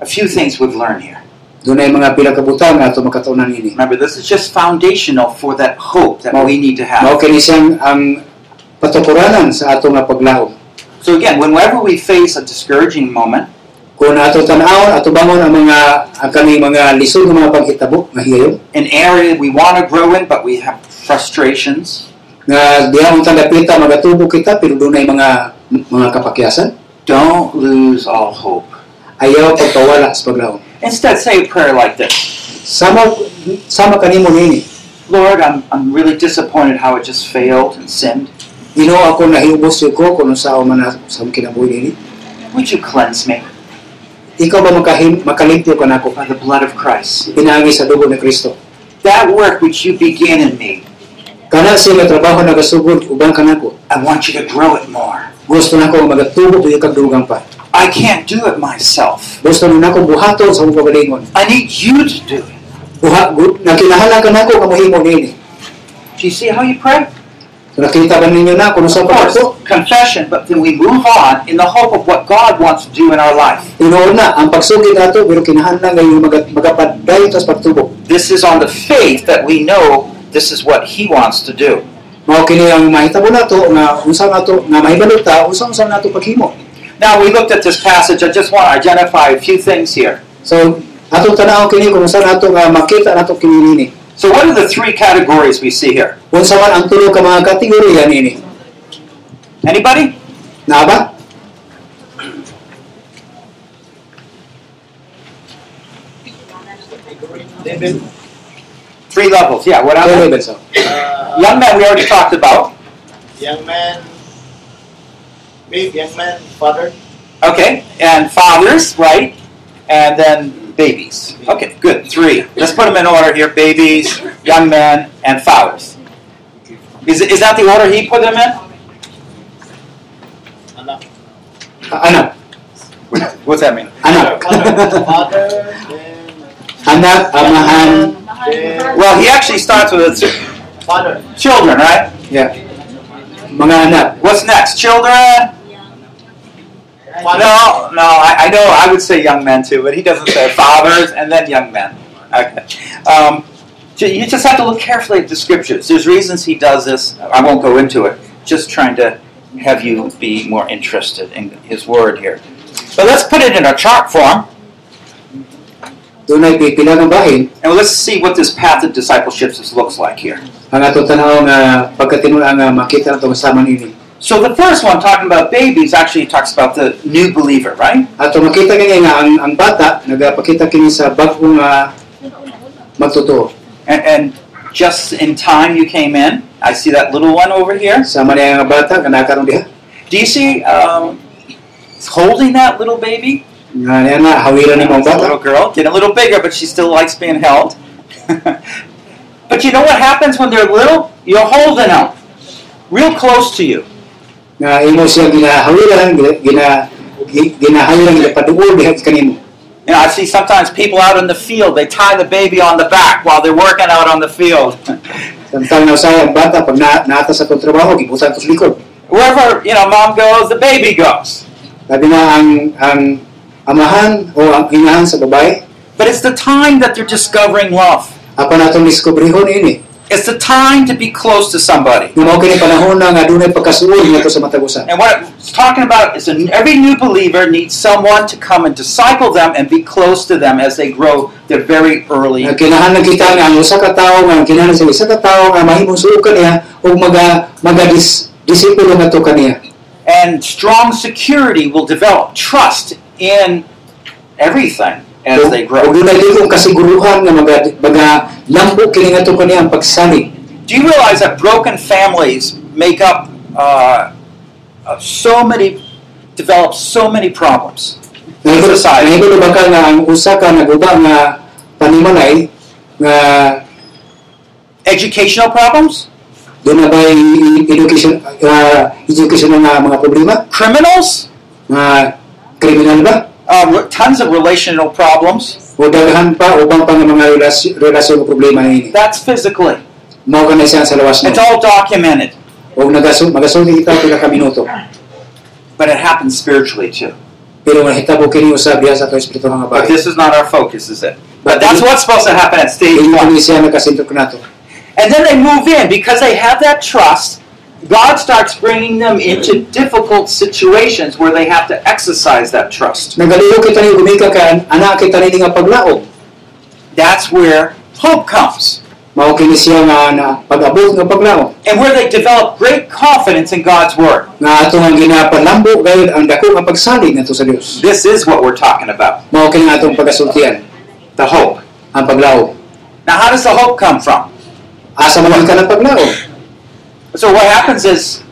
A: A few things we've learned here.
B: Dunay mga pila ka butang nga ato makatunan ini.
A: Remember, this is just foundational for that hope that we need to
B: Mao
A: have.
B: kini siyang ang patukuranan sa ato nga paglaom.
A: So again, whenever we face a discouraging moment,
B: Kung ato tan-awon, ato bangon ang mga ang kami mga lisod nga mga paghitabo nga higayon.
A: an area we want to grow in, but we have frustrations,
B: nga diha ang tagapita magatubo kita pero dunay mga mga kapakyasan
A: don't lose all hope.
B: ayaw pagkawala sa paglaom
A: Instead, say a prayer like this.
B: sama sama kanimo nini
A: Lord, I'm, I'm really disappointed how it just failed and sinned.
B: Ginoo ako nahiubos yun ko kung sa man na sa akong kinabuhi nini
A: Would you cleanse me
B: ikaw ba makahim makalimpyo ka nako
A: by the blood of Christ?
B: pinagi sa dugo ni Kristo
A: That work which you began in me,
B: kana sila trabaho nagasugod ubang kanako
A: I want you to grow it more.
B: gusto nako nga magatubo tuyo kag dugang pa
A: I can't do it myself.
B: gusto na nako buhaton sa akong pagalingon
A: I need you to do it.
B: buha gu- nakinahala ka nako nga mohimo nini
A: Do you see how you pray?
B: So, nakita ba ninyo na kung sa
A: Of course,
B: pagkato
A: confession, but then we move on in the hope of what God wants to do in our life.
B: Tinuod na, ang pagsugid ato, pero kinahanglan ngayon mag- magapadayon sa pagtubo.
A: This is on the faith that we know this is what He wants to do.
B: Mao kini ang mahitabo nato nga unsa nato nga mahibalota unsa unsa nato paghimo.
A: Now, we looked at this passage. I just want to identify a few things here.
B: So ato tanaw kini kung unsa nato nga makita nato kini nini.
A: So, what are the three categories we see here?
B: Unsa man ang tulo ka mga kategorya nini?
A: Anybody?
B: Naa ba?
C: Level,
A: Three levels. Yeah, what
B: Ano
A: are they?
B: ba sa?
D: uh,
A: Young men, we already talked about.
D: young man, babe, young man, father.
A: Okay, and fathers, right? And then babies. Okay, good. Three. Let's put them in order here: babies, young men, and fathers. Is, is that the order he put them in?
D: Anak.
B: Anak.
A: What's that mean?
B: anak.
D: Father, father, then
B: anak, amahan,
A: Well, he actually starts with
D: father.
A: children, right?
B: mga anak.
A: What's next? Children? No, no, I, I know I would say young men too, but he doesn't say fathers and then young men. Okay. Um, ju- you just have to look carefully at the scriptures. There's reasons he does this. I won't go into it. Just trying to have you be more interested in his word here. But let's put it in a chart form
B: Doon ay pipila ng bahin
A: and let's see what this path of discipleship is- looks like here.
B: ang atong tanaw nga pagkatinuan nga makita ang itong sama ini.
A: So the first one, talking about babies, actually talks about the new believer, right?
B: Ato makita kanya nga ang, ang bata nagapakita kini sa bagong nga magtotoo.
A: And, and just in time you came in. I see that little one over here.
B: Sama niya nga bata nga nakaroon diha.
A: Do you see um, holding that little baby?
B: Nga niya nga hawiran ni mong
A: That
B: bata.
A: little girl. Getting a little bigger, but she still likes being held. but you know what happens when they're little? You're holding them real close to you.
B: Nga imo siya ginahawiran gina gina gi- ginahawiran gina paduol diha kanimo.
A: You know, I see sometimes people out in the field, they tie the baby on the back while they're working out on the field.
B: Samtang na usay ang bata pag na, naata sa itong trabaho gibutan to sa likod.
A: Wherever, you know, mom goes, the baby goes.
B: Labi na ang ang amahan o ang inahan sa babae
A: But it's the time that they're discovering love.
B: apan atong diskubrihon ini
A: It's the time to be close to somebody.
B: nga mao kini panahon na nga dunay pagkasuod nga sa matag usa.
A: And what it's talking about is that every new believer needs someone to come and disciple them and be close to them as they grow. They're very early.
B: Nga kinahanglan kita nga ang usa ka tawo nga ang kinahanglan sa usa ka tawo nga mahimong suod kaniya ug maga magadis disipulo nga to kaniya.
A: And strong security will develop trust in everything as they
B: Ug
A: grow.
B: dunay ligong kasiguruhan nga maga maga lambo kini nga to kaniya ang pagsalig.
A: Do you realize that broken families make up uh, uh, so many, develop so many problems?
B: Nahigulo
A: Society.
B: nahigulo ba ka nga ang usa ka naguba nga panimalay nga
A: Educational problems,
B: dunay bay education uh, education nga mga problema
A: criminals,
B: nga kriminal ba?
A: uh, tons of relational problems.
B: o daghan pa ubang pang mga relasyon, relasyon o problema ini.
A: That's physically.
B: Mao ka na siya sa lawas
A: It's
B: na.
A: all documented,
B: O nagasu magasulti kita pila ka minuto.
A: but it happens spiritually too.
B: Pero nga hitabo kini usab diha sa to espiritu nga
A: But
B: bahay.
A: this is not our focus, is it? But that's what's supposed to happen at stage
B: Inyo
A: one.
B: kini siya nakasintok nato.
A: And then they move in because they have that trust. God starts bringing them into difficult situations where they have to exercise that trust.
B: Nagaliyo kita ni gumika ka ana kita ni nga paglaom.
A: That's where hope comes
B: Mao kini siya nga na pag-abot nga paglaom.
A: and where they develop great confidence in God's word.
B: Nga ato nga ginapalambo gayud ang dako nga pagsalig nato sa Dios.
A: This is what we're talking about
B: Mao kini nga atong pagasultian
A: the hope.
B: ang paglaom.
A: Now, how does the hope come from?
B: Asa man ka ng paglaom?
A: So, what happens is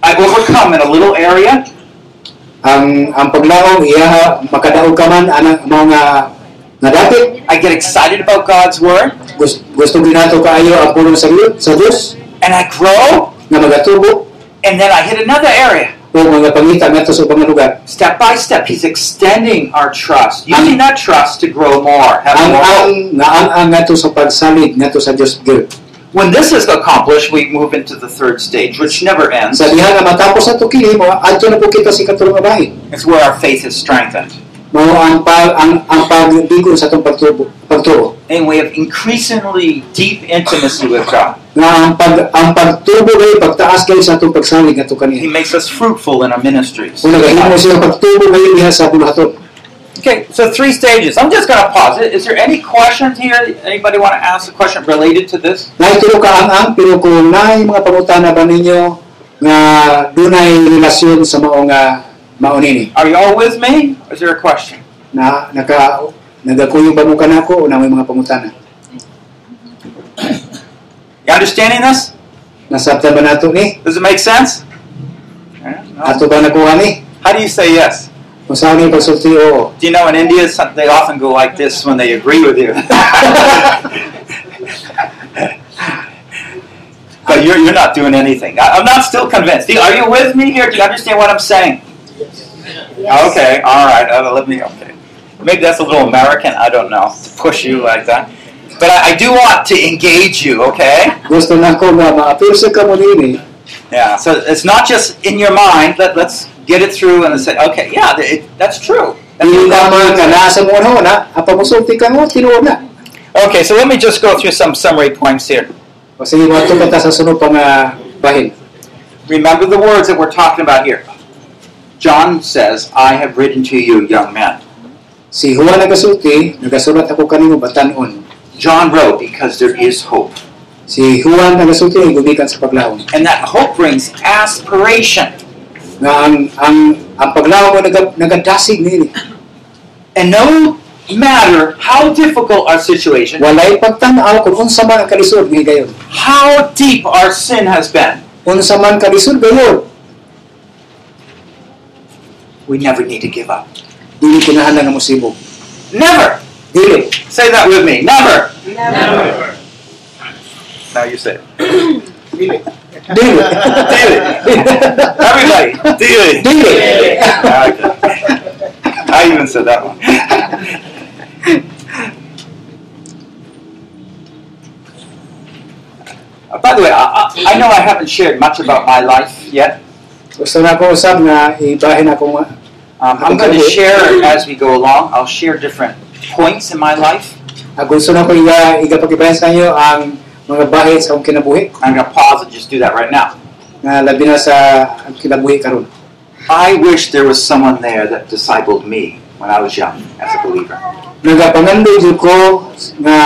A: I overcome in a little area,
B: Ang ang paglaom iya makadaog ka man anang mga nga dapit
A: I get excited about God's word,
B: gusto, gusto ginato kaayo ang pulong sa Dios, sa Dios
A: and I grow,
B: nga magatubo
A: and then I hit another area.
B: o mga pangita nga sa ubang lugar.
A: Step by step, He's extending our trust, using that trust to grow more, Um, have
B: Ang
A: more
B: ang
A: hope.
B: nga ang ang ngato sa pagsalig ngato sa Dios gyud.
A: When this is accomplished, we move into the third stage, which never ends.
B: Sa diha nga matapos ato kini mo adto na po kita sa katulong nga bahin.
A: It's where our faith is strengthened,
B: Mao ang pag ang ang pagbigon sa atong pagtubo pagtuo.
A: and we have increasingly deep intimacy with God.
B: Nga ang pag ang pagtubo kay pagtaas kay sa atong pagsalig ngato
A: He
B: kaniya.
A: makes us fruitful in our ministries.
B: Una gahin mo siya pagtubo kay diha sa bulaton.
A: Okay, so three stages. I'm just going to pause. Is there any questions here? Anybody want to ask a question related to this?
B: Naituro ka ang ang pero kung naay mga pangutana ba ninyo nga dunay relasyon sa mao nga maunini.
A: Are you all with me? Or is there a question?
B: na naka nagakuyong ba mo kanako o na may mga pangutana
A: You understanding this?
B: nasabtan ba nato ni
A: Does it make sense? Yeah, no.
B: ato ba nakuha ni
A: How do you say yes?
B: kung saan ni pagsulti oo
A: Do you know in India some- they often go like this when they agree with you? but you're, you're not doing anything. I, I'm not still convinced. Do- Are you with me here? Do you understand what I'm saying?
D: Yes.
A: Okay, all right. Uh, let me. Okay, maybe that's a little American. I don't know to push you like that, but I, I do want to engage you. Okay.
B: Gusto na ko nga ma-appeal sa kamo nini.
A: Yeah. So it's not just in your mind. Let Let's get it through and say, okay, yeah, th- it, that's true. That's
B: Ang
A: what that
B: tama
A: means.
B: ka na sa mo na na. Apa mo sulti ka mo tinuod na.
A: Okay, so let me just go through some summary points here.
B: O sige mo ato ka ta sa sunod pa nga bahin.
A: Remember the words that we're talking about here. John says, I have written to you, young men.
B: Si Juan nagasulti, nagasulat ako kanimo batanon.
A: John wrote, because there is hope.
B: Si Juan nagasulti ay gumikan sa paglaom.
A: And that hope brings aspiration.
B: Nga ang ang ang paglaom mo naga- nagadasig nini.
A: And no matter how difficult our situation,
B: Walay pagtan-aw kung unsa man ang kalisod ni gayon.
A: how deep our sin has been,
B: Unsa man kalisod gayon,
A: we never need to give up.
B: dili kinahanglan nga mosibo.
A: Never!
B: Dili.
A: Say that with me. Never!
D: Never.
A: Now you say it.
D: Really?
B: Dili.
A: Everybody, do it.
B: Dili.
A: I even said that one. Uh, By the way, I, I, I know I haven't shared much about my life yet.
B: Gusto na ko usab nga ibahin ako nga
A: Um, I'm going to share as we go along. I'll share different points in my life.
B: Ang Ah, gusto na ko iga, igapagibayan sa inyo ang mga bahay sa akong kinabuhi,
A: I'm going to pause and just do that right now.
B: na labi na sa ang kinabuhi karon.
A: I wish there was someone there that discipled me when I was young as a believer.
B: Nagapangando jud ko nga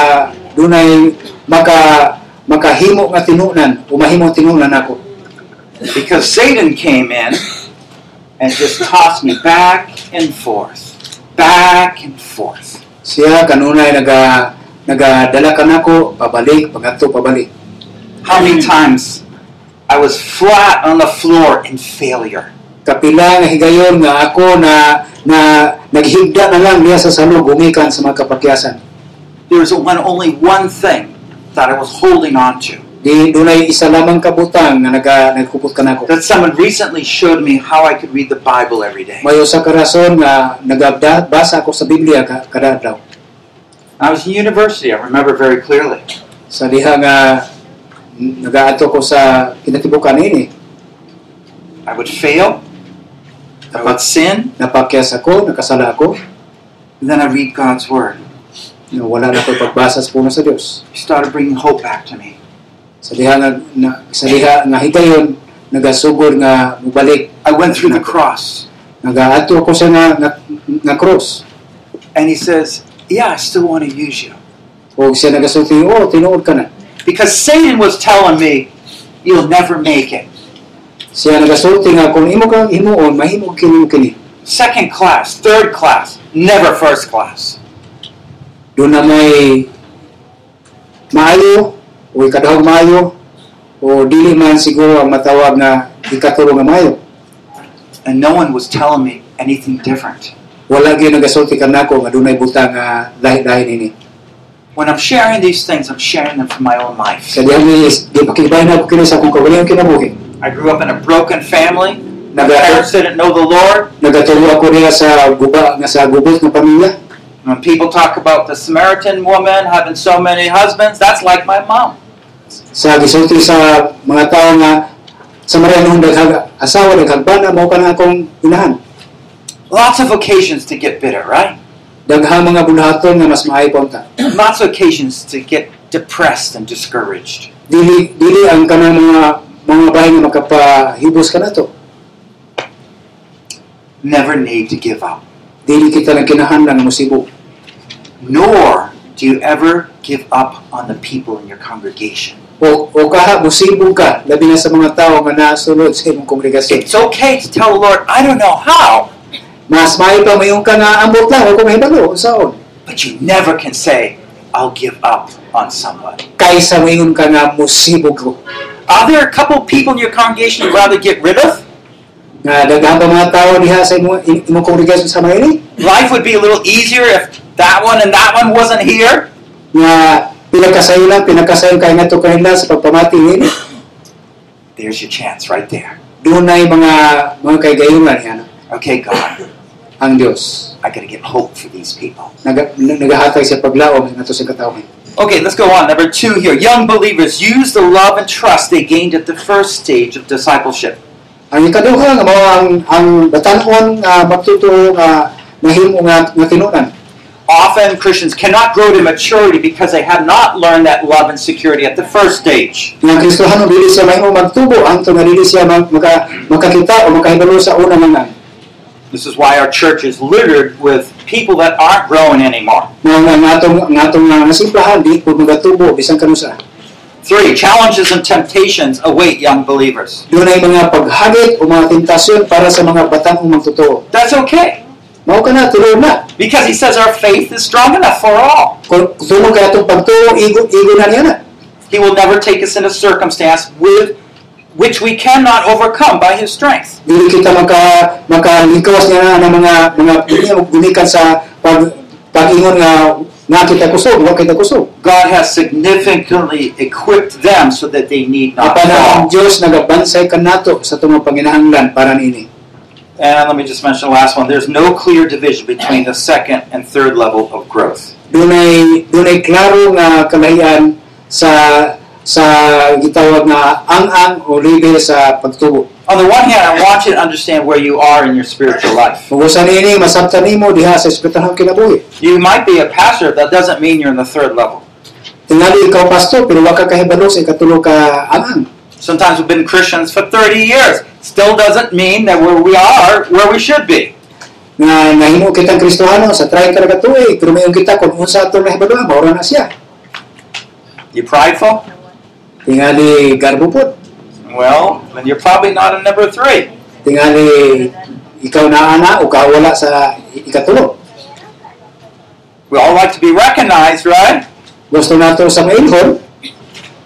B: dunay maka makahimo nga tinunan, umahimo tinunan ako.
A: Because Satan came in and just tossed me back and forth, back and forth.
B: Siya kanunay naga nagadala ka nako pabalik, pagadto pabalik.
A: How many times I was flat on the floor in failure.
B: Kapila nga higayon nga ako na na naghigda na lang niya sa salog gumikan sa mga kapakyasan.
A: There was one, only one thing that I was holding on to.
B: Di dunay isa lamang kabutang nga naga nagkupot ka nako.
A: That someone recently showed me how I could read the Bible every day.
B: May usa ka rason nga nagabasa ako sa Biblia ka- kada adlaw.
A: I was in university, I remember very clearly.
B: Sa diha nga n- nagaato ko sa kinatibukan ini,
A: I would fail, I would sin,
B: napakyas ako, nakasala ako,
A: and then I read God's Word.
B: na wala na ko pagbasa sa puno sa Dios.
A: He started bringing hope back to me.
B: Sa diha nga na, sa diha nga higayon nagasugod nga mubalik,
A: I went through the cross.
B: nagaato ako sa nga nga, nga cross.
A: And he says, Yeah, I still want to use you.
B: O siya nagasulti, oh, tinuod ka na.
A: Because Satan was telling me, You'll never make it.
B: Siya nagasulti nga kung imo kang himuon, mahimo kini kini.
A: Second class, third class, never first class.
B: doon na may maayo o ikadahog maayo o dili man siguro ang matawag na ikatulong nga maayo.
A: And no one was telling me anything different.
B: Wala gyud nagasulti kanako nga dunay butang nga lahi-lahi nini.
A: When I'm sharing these things, I'm sharing them from my own life.
B: Sa diha ni di pakibahin ako kini sa akong kawalihang kinabuhi.
A: I grew up in a broken family. My
B: Nagatulo
A: parents didn't know the Lord.
B: nagatulo ako niya sa guba nga sa gubot nga pamilya.
A: When people talk about the Samaritan woman having so many husbands, that's like my mom.
B: Sa gisulti sa mga tao nga sa maranong daghag asawa daghagbana mao ka na akong inahan.
A: Lots of occasions to get bitter, right?
B: Daghang mga bulhaton nga mas maayo pa unta.
A: Lots of occasions to get depressed and discouraged.
B: dili dili ang kanang mga mga bahay nga makapahibos ka na to.
A: never need to give up,
B: Dili kita lang kinahanglan mo sibo.
A: nor do you ever give up on the people in your congregation.
B: O, o kaha, musibo ka, labi na sa mga tao nga nasunod sa imong kongregasyon.
A: It's okay to tell the Lord, I don't know how,
B: Mas maayo pa mayong ka nga ambot lang, o kung mahibalo, saon.
A: but you never can say, I'll give up on someone.
B: Kaysa mayon ka nga musibo ko.
A: Are there a couple people in your congregation you'd rather get rid of?
B: Nga daghan pa mga tao diha sa imong, im- imong kongregasyon sa Mayri,
A: Life would be a little easier if that one and that one wasn't here.
B: nga pinakasayon lang, pinakasayon kay nga to kanila sa pagpamati nini.
A: There's your chance right there.
B: Doon na mga mga kaigayunan yan.
A: Okay, God,
B: ang Dios.
A: I got to give hope for these people.
B: Nag, nagahatag sa paglaom ng ato sa katawhan.
A: Okay, let's go on. Number two here. Young believers use the love and trust they gained at the first stage of discipleship.
B: Ang ikaduha nga mao ang ang batan-on nga matuto nga mahimo nga nga tinunan.
A: Often Christians cannot grow to maturity because they have not learned that love and security at the first stage.
B: Nga Kristohano dili siya mahimo magtubo ang nga dili siya mag, maka, makakita o makahibalo sa una nga
A: This is why our church is littered with people that aren't growing anymore.
B: nga nga nga atong nga atong nga nasimplahan di pud magatubo bisan kanusa.
A: Three, challenges and temptations await young believers.
B: Dunay mga paghagit o mga tentasyon para sa mga batan-ong magtutuo.
A: That's okay
B: Mao ka na tulo na.
A: because he says our faith is strong enough for all.
B: Kung tulong ka atong pagtuo igo igo na niya na.
A: He will never take us into circumstance with which we cannot overcome by his strength.
B: dili kita maka makalikos niya na ng mga mga gunikan sa pag pag-ingon nga nga kita kusog, wa kita kusog.
A: God has significantly equipped them so that they need not
B: Apan ang
A: fall.
B: Dios nagabansay kanato sa tungo panginahanglan para niini.
A: And let me just mention the last one. There's no clear division between the second and third level of growth.
B: Dunay dunay klaro nga kalahian sa sa gitawag nga ang-ang o level sa pagtubo.
A: On the one hand, I want you to understand where you are in your spiritual life.
B: Kung usa niini masabtan nimo diha sa espirituhang kinabuhi.
A: You might be a pastor, that doesn't mean you're in the third level.
B: Tingali ikaw pastor pero wa ka kahibalo sa ikatulo ka ang-ang.
A: Sometimes we've been Christians for 30 years. Still doesn't mean that where we are, where we should be.
B: nga nahimo kitang Kristohano sa train talaga tuig pero mayon kita kung unsa ato nahibaduha maura na siya
A: You prideful?
B: tingali garbo pud
A: Well, then you're probably not a number three.
B: tingali ikaw na ana o ka wala sa ikatulo
A: We all like to be recognized, right?
B: gusto nato sa mailhon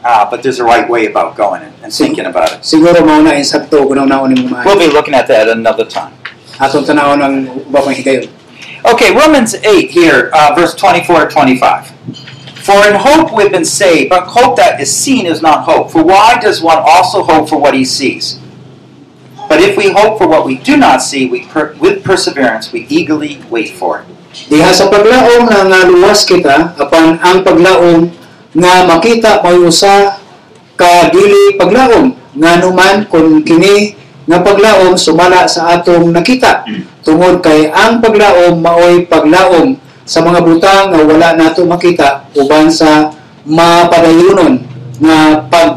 A: Ah, but there's a right way about going and, and thinking about it.
B: siguro mao na insakto kuno naon ni
A: We'll be
B: mga
A: looking at that another time.
B: atong tanawon ang uba pang higayon
A: Okay, Romans 8 here, uh, verse 24 to 25. For in hope we've been saved, but hope that is seen is not hope. For why does one also hope for what he sees? But if we hope for what we do not see, we per- with perseverance we eagerly wait for it.
B: diha sa paglaom nga nga luwas kita apan ang paglaom nga makita may usa ka dili paglaom nga numan kun kini nga paglaom sumala sa atong nakita tungod kay ang paglaom maoy paglaom sa mga butang nga wala nato makita uban sa mapadayunon nga pag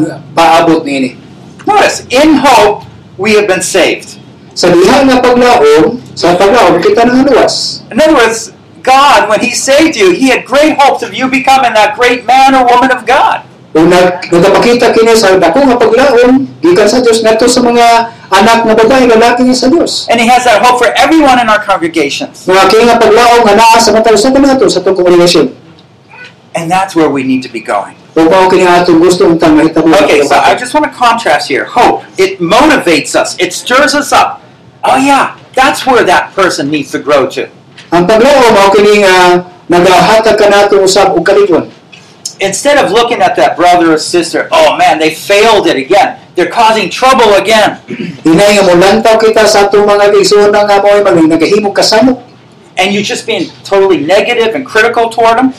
B: pagpaabot niini
A: Notice, in hope we have been saved.
B: sa diha nga paglaom sa paglaom kita nga luwas
A: In other words, God, when He saved you, He had great hopes of you becoming that great man or woman of God.
B: Kung nag, nagpakita kini sa dako nga paglaom, gikan sa Dios ngadto sa mga anak nga babae lalaki niya sa Dios.
A: And He has that hope for everyone in our congregations.
B: Nga kini nga paglaom nga naa sa mata usa ka nato sa atong komunikasyon.
A: And that's where we need to be going.
B: Kung mao kini ang atong gusto untang mahitabo. nga
A: Okay, so uh, I
B: paglaom.
A: just want to contrast here. Hope, it motivates us, it stirs us up. Oh, yeah, that's where that person needs to grow to.
B: ang paglaom mao kini nga nagahatag ka nato usab og kaligwan.
A: Instead of looking at that brother or sister, oh man, they failed it again. They're causing trouble again.
B: Hinay nga mulantaw kita sa atong mga igsoon nga mao'y maging nagahimog kasamo.
A: And you're just being totally negative and critical toward them.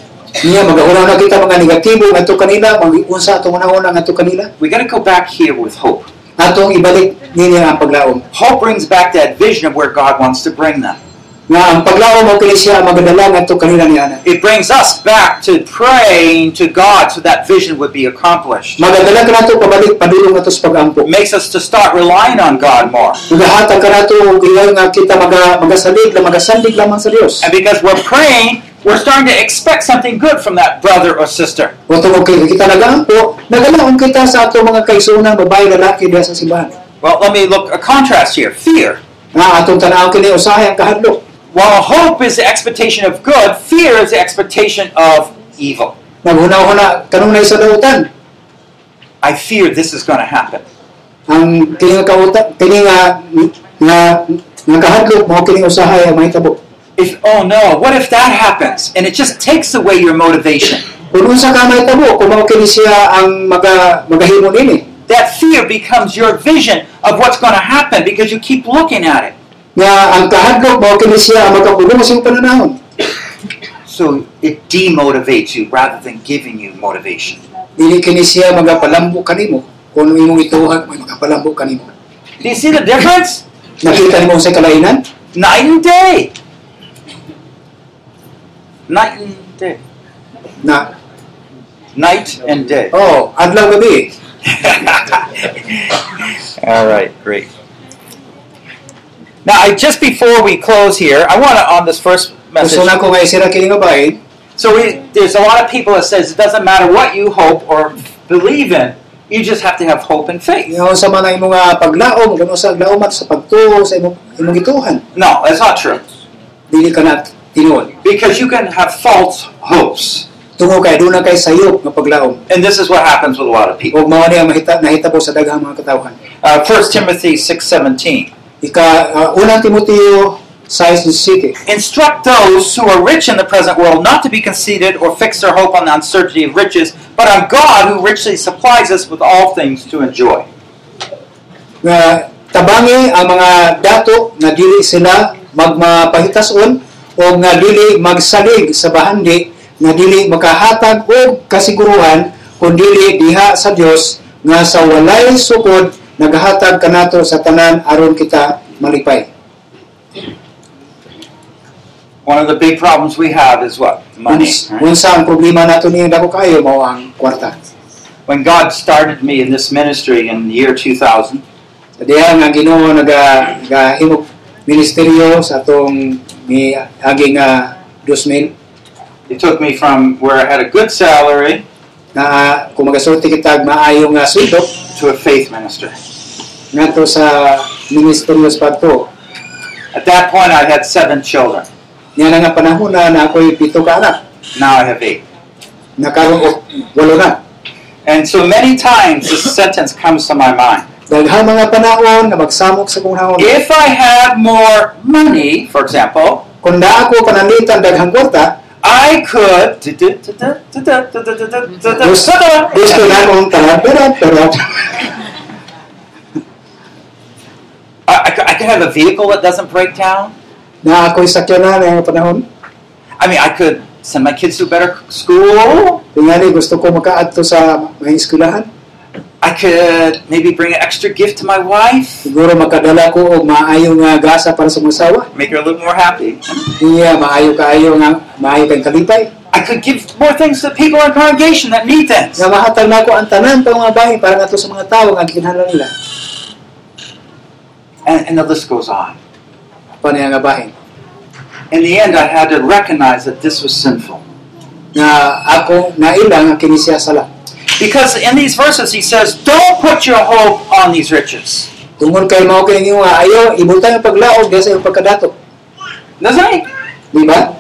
B: Niya magahuraw na kita mga negatibo nga ato kanila, mag-unsa atong una-una nga ato kanila.
A: We got to go back here with hope.
B: Atong ibalik niya ang paglaom.
A: Hope brings back that vision of where God wants to bring them.
B: Nga ang paglaom mao kini siya ang magadala ngadto kanila ni ana.
A: It brings us back to praying to God so that vision would be accomplished.
B: Magadala ka nato pabalik padulong nato sa
A: It
B: pag-ampo.
A: makes us to start relying on God more.
B: Magahatag ka nato og ilaw nga kita maga magasalig lang magasandig lamang sa Dios.
A: And because we're praying, we're starting to expect something good from that brother or sister.
B: Wa tungod kay kita nagaampo, nagalaon kita sa ato mga kaigsoonang babae lalaki diha sa simbahan.
A: Well, let me look a contrast here. Fear.
B: Nga atong tan-aw kini usahay ang kahadlok.
A: While hope is the expectation of good, fear is the expectation of evil.
B: Naghunaw-huna kanunay sa dautan.
A: I fear this is going to happen.
B: Ang kini nga kauta kini nga nga nga kahadlok mao kini usahay ang mahitabo.
A: If oh no, what if that happens? And it just takes away your motivation.
B: Kung unsa ka mahitabo kung mao kini siya ang maga magahimo nini.
A: That fear becomes your vision of what's going to happen because you keep looking at it.
B: nga ang kahadlok mao kini siya ang makapulong sa iyong pananahon.
A: So it demotivates you rather than giving you motivation.
B: Dili kini siya magapalambo kanimo kung imong ituhat may magapalambo kanimo.
A: Do you see the difference?
B: Nakita nimo sa kalainan?
A: Night and day. Night and day.
B: Na
A: Night and day.
B: oh, adlaw gabi.
A: All right, great. Now, I, just before we close here, I want to on this first message.
B: Gusto na ko nga isira kini nga bahin.
A: So we, there's a lot of people that says it doesn't matter what you hope or believe in, you just have to have hope and faith.
B: Ngayon sa mga imong ah, paglaom, kuno sa laomat sa pagtuo sa imong imong gituhan.
A: No, that's not true.
B: Dili ka na tinuod.
A: Because you can have false hopes.
B: Tungo kay doon na kay sayop nga paglaom.
A: And this is what happens with a lot of people.
B: Ug mao ni ang mahita nahitabo sa daghang mga katawhan.
A: Uh, 1 Timothy 6.17
B: Ika ah, unang Timoteo 6:17.
A: Instruct those who are rich in the present world not to be conceited or fix their hope on the uncertainty of riches, but on God who richly supplies us with all things to enjoy.
B: nga tabangi ang mga dato nga dili sila magmapahitason o nga dili magsalig sa bahandi nga dili makahatag og kasiguruhan kun dili diha sa Dios nga sa walay sukod nagahatag kanato sa tanan aron kita malipay.
A: One of the big problems we have is what? Money.
B: Uns-
A: right?
B: Unsa ang problema nato ni dako kayo mao ang kwarta.
A: When God started me in this ministry in the year 2000,
B: Diha nga Ginoo naga nagahimog ministeryo sa atong ni aging uh, 2000
A: It took me from where I had a good salary
B: na kung magasulti kitag maayo nga sweldo
A: to a faith minister.
B: ah, ngadto sa ministeryo sa pagtuo.
A: At that point, I had seven children.
B: Niya na nga panahon na na ako'y pito ka anak,
A: Now I have eight.
B: nakaroon ko walo na.
A: And so many times this sentence comes to my mind.
B: Daghang mga panahon na magsamok sa kong hangon.
A: If I had more money, for example,
B: Kung na ako pananlitan daghang kwarta,
A: I could.
B: gusto na akong tanan pero pero
A: I, I could- I could have a vehicle that doesn't break down.
B: na ako'y sakyanan ngayong panahon.
A: I mean, I could send my kids to a better school.
B: Tingani gusto ko makaadto sa mga eskwelahan.
A: I could maybe bring an extra gift to my wife,
B: Siguro makadala ko og maayo nga gasa para sa mga asawa.
A: make her a little more happy.
B: Iya maayo kaayo nga maayo kang kalipay.
A: I could give more things to people in our congregation that need things.
B: Nga mahatag na ako ang tanan pa mga bahay para nga to sa mga tao nga kinahanglan nila
A: And, and the list goes on.
B: pa niya nga bahay.
A: In the end, I had to recognize that this was sinful.
B: Nga ako nailang nga kini siya sala.
A: Because in these verses, he says, Don't put your hope on these riches.
B: Tungod kay mao kay inyo nga ayo ibutang ang paglaog diha sa iyong pagkadato.
A: Doesn't he?
B: Di ba?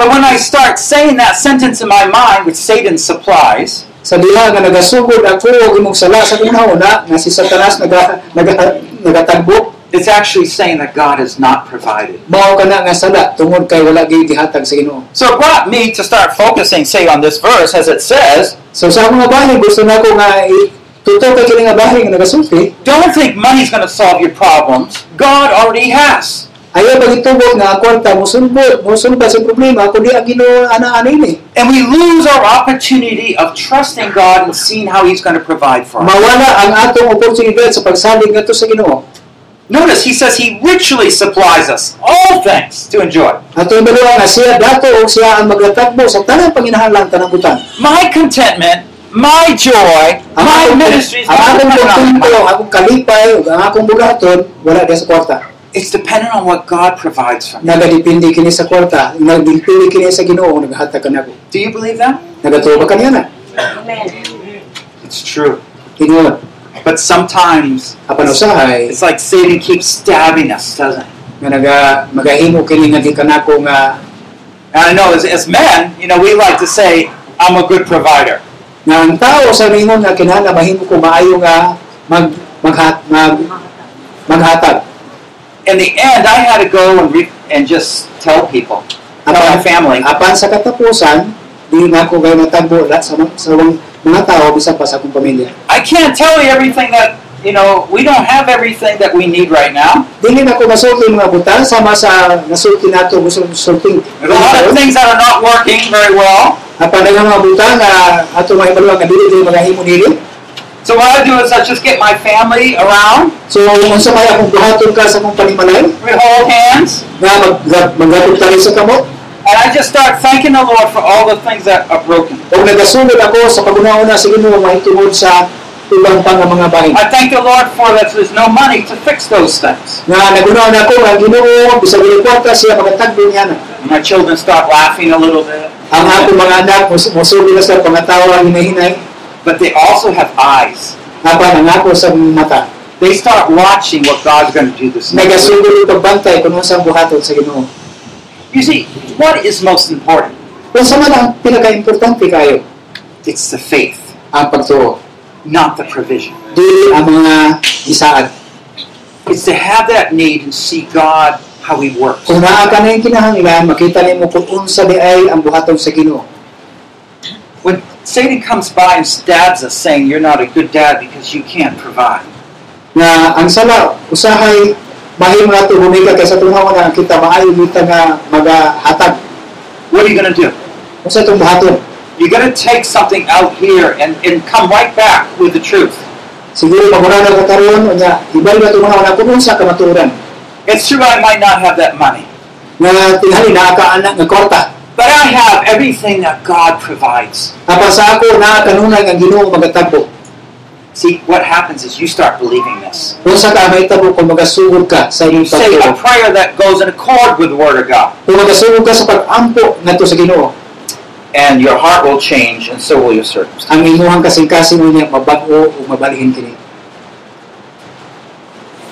A: But when I start saying that sentence in my mind, which Satan supplies,
B: Sa diha nga nagasugod ako og imong sala sa kunahuna nga si Satanas naga naga nagatagbo
A: it's actually saying that God has not provided.
B: mao kana nga sala tungod kay wala gyud gihatag sa Ginoo.
A: So it brought me to start focusing, say, on this verse, as it says,
B: So sa mga bahay gusto nako nga itutok kay kini nga bahay nga eh. nagasulti
A: Don't think money's going to solve your problems. God already has.
B: Ayaw ba gitubot nga ang kwarta musulbot, musulbot sa problema kundi ang Ginoo ana ana ini.
A: And we lose our opportunity of trusting God and seeing how He's going to provide for us.
B: Mawala ang atong oportunidad sa pagsalig ngadto sa Ginoo.
A: Notice he says He richly supplies us all things to enjoy.
B: Atong dalawa nga siya dato o siya ang maglatagbo sa tanang panginahanglan tanang butan.
A: My contentment, my joy,
B: Ang
A: my
B: akong-
A: ministry is
B: ang
A: not
B: akong
A: dependent
B: kontento,
A: on
B: ang akong kalipay, ug ang akong bulaton, wala diha sa kwarta.
A: It's dependent on what God provides for me.
B: Nagadipindi kini sa kwarta, nagdipindi kini sa Ginoo naghatag kanako.
A: Do you believe that?
B: Nagatuwa ka niya na.
A: It's true.
B: Ginoo,
A: But sometimes
B: apan usahay
A: it's like Satan keeps stabbing us, doesn't he?
B: nga naga magahimo kini nga di kanako nga
A: And I know as, as men, you know, we like to say, I'm a good provider.
B: nga ang tao sa mingon nga kinahanglan mahimo ko maayo nga mag maghat mag maghatag
A: In the end, I had to go and, re- and just tell people, tell my
B: apan
A: family,
B: apan sa katapusan di na ko kayo matagbo la sa mga- sa mga mga tao bisan pa sa akong pamilya
A: I can't tell you everything that you know, we don't have everything that we need right now.
B: Dili na ko masulti mga butang sama sa nasulti nato sulting.
A: There's a lot of things that are not working very well.
B: Apan nga mga butang nga ato mga ibaluan nga dili dili malahimo dili.
A: So what I do is I just get my family around.
B: So unsa may akong buhaton ka sa akong panimalay
A: We hold hands,
B: nga mag maggatod tali sa kamot
A: and I just start thanking the Lord for all the things that are broken.
B: ug nagasunod ako sa pagunauna sa Ginoo mahitungod sa ubang pang mga bahin.
A: I thank the Lord for that there's no money to fix those things.
B: Nga nagunaon ako nga ang Ginoo bisag dili kwarta siya pagatagbo niya na.
A: My children start laughing a little bit,
B: Ang ato mga anak mus- musulti na sa pangatawa ang hinahinay
A: but they also have eyes.
B: apan ang ako sa mata.
A: They start watching what God's going to do this next week.
B: Nagasugod ug pagbantay kun unsa ang buhaton sa Ginoo.
A: You see, what is most important?
B: Kung sa man ang pinaka-importante kayo,
A: It's the faith,
B: ang pagtuo.
A: not the provision.
B: Dili ang mga isaad.
A: It's to have that need and see God how He works.
B: Kung naa ka na yung kinahanglan, makita nimo kung unsa di ay ang buhaton sa Ginoo.
A: When Satan comes by and stabs us, saying, You're not a good dad because you can't provide,
B: Na ang sala usahay mahimo nato humika kay sa tunga na kita maayo kita nga magahatag
A: what are you going to do?
B: unsa tong buhaton.
A: You're going to take something out here and, and come right back with the truth.
B: Siguro pagmura na ka karon unya ibal na tunga na kung unsa ka maturan.
A: It's true I might not have that money,
B: Nga tingali naa ka anak nga kwarta.
A: but I have everything that God provides.
B: Apan sa ako naa kanunay ang Ginoo magatagbo.
A: See, what happens is you start believing this.
B: Unsa ka mahitabo kung magasugod ka sa
A: You
B: imong
A: say a
B: pagtuo.
A: prayer that goes in accord with the Word of God,
B: Kung magasunog ka sa pag-ampo ngadto sa Ginoo,
A: and your heart will change, and so will your circumstances.
B: ang imuhang kasing-kasing mo niya mabag-o o mabalihin kini.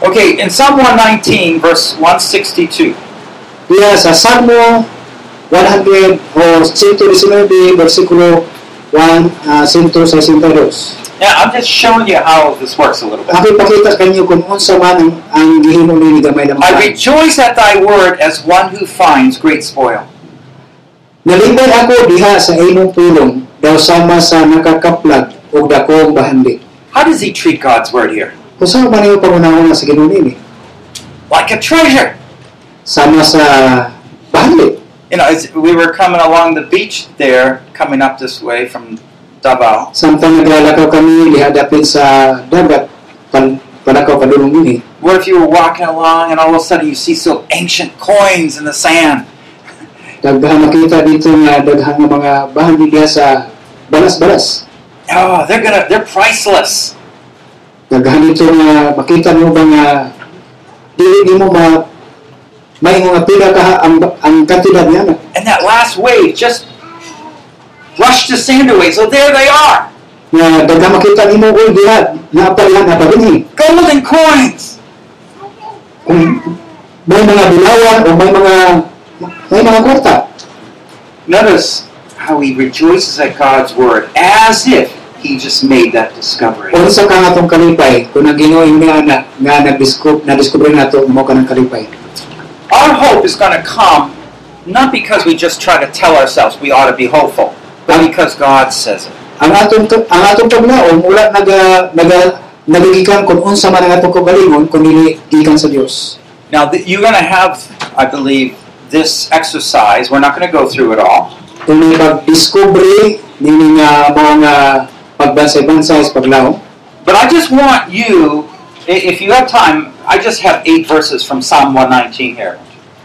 A: Okay, in Psalm 119, verse 162,
B: Diya sa Salmo 100 o 119 versikulo 1 uh, 162.
A: now I'm just showing you how this works a little bit.
B: Ako ipakita kanyo kung unsa man ang, ang gihimo ni gamay na
A: I
B: mga.
A: rejoice at thy word as one who finds great spoil.
B: Nalibay ako diha sa imong pulong daw sama sa nakakaplag o dakong bahandi.
A: How does he treat God's word here?
B: Usa man niyo pangunahon sa Ginoo nini?
A: Like a treasure.
B: Sama sa bahandi.
A: You know, as we were coming along the beach there, coming up this way from Davao,
B: Samtang naglalakaw kami lihadapin sa dagat pan panakaw kadulong ini.
A: what if you were walking along and all of a sudden you see some ancient coins in the sand?
B: Daghan makita dito nga daghang nga mga bahan diya sa balas-balas.
A: Oh, they're gonna, they're priceless.
B: Daghan dito nga makita mo ba nga dili nimo ma may mga pila ka ang ang kantidad niya na.
A: And that last wave just brushed the sand away. So there they are,
B: Nga daghan makita nimo ul diha na apalhan na pagini.
A: golden coins.
B: Kung may mga bilawan o may mga may mga kwarta.
A: Notice how he rejoices at God's word as if he just made that discovery.
B: Kung sa kang atong kalipay, kung ang Ginoo niya na nga nagdiscover na nato mo ka ng kalipay.
A: Our hope is going to come not because we just try to tell ourselves we ought to be hopeful, but because God says it.
B: ang atong ang atong paglaom wala naga naga nagigikan kung unsa man ang atong kabalingon kung dili gikan sa Dios.
A: Now, th- you're going to have, I believe, this exercise. We're not going to go through it all.
B: Kung may pagdiskubre nini nga mga nga pagbansay-bansay sa paglaom.
A: But I just want you, i- if you have time, I just have eight verses from Psalm 119 here.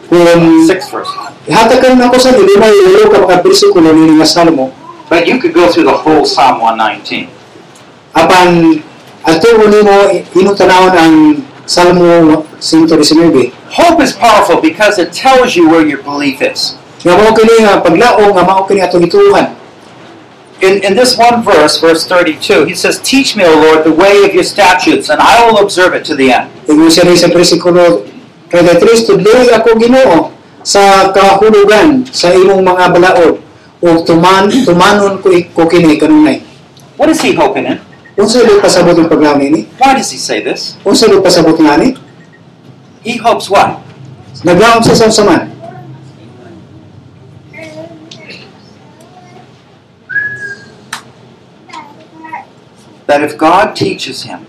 B: Kung
A: Six verses.
B: hatakan ako sa dili may ulo ka mga bersikulo nini nga Salmo
A: But you could go through the whole Psalm 119.
B: apan ato nimo inutanawon ang Salmo 119.
A: Hope is powerful because it tells you where your belief is.
B: Nga mao kini nga paglaom nga mao kini atong ituhan.
A: In, in this one verse, verse 32, he says, Teach me, O Lord, the way of your statutes, and I will observe it to the end.
B: Ingon siya rin sa versikulo 33, Tudloy ako ginoo sa kahulugan sa imong mga balaod o tuman, tumanon ko, i- ko kini kanunay.
A: What is he hoping in?
B: Unsa rin pasabot ang paglaon ini?
A: Why does he say this?
B: Unsa rin pasabot nga ni?
A: He hopes what?
B: Naglaom sa samsaman.
A: That if God teaches him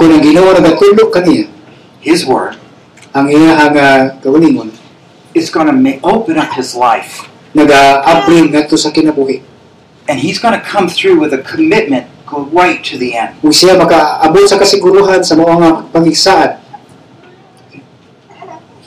B: kung ang Ginoo nagatulo kaniya
A: His word
B: ang iya ang uh, kauningon
A: is going to make, open up his life,
B: naga-upgrade ngadto sa kinabuhi
A: and he's going to come through with a commitment go right to the end.
B: ug siya makaabot sa kasiguruhan sa mao nga pangigsaad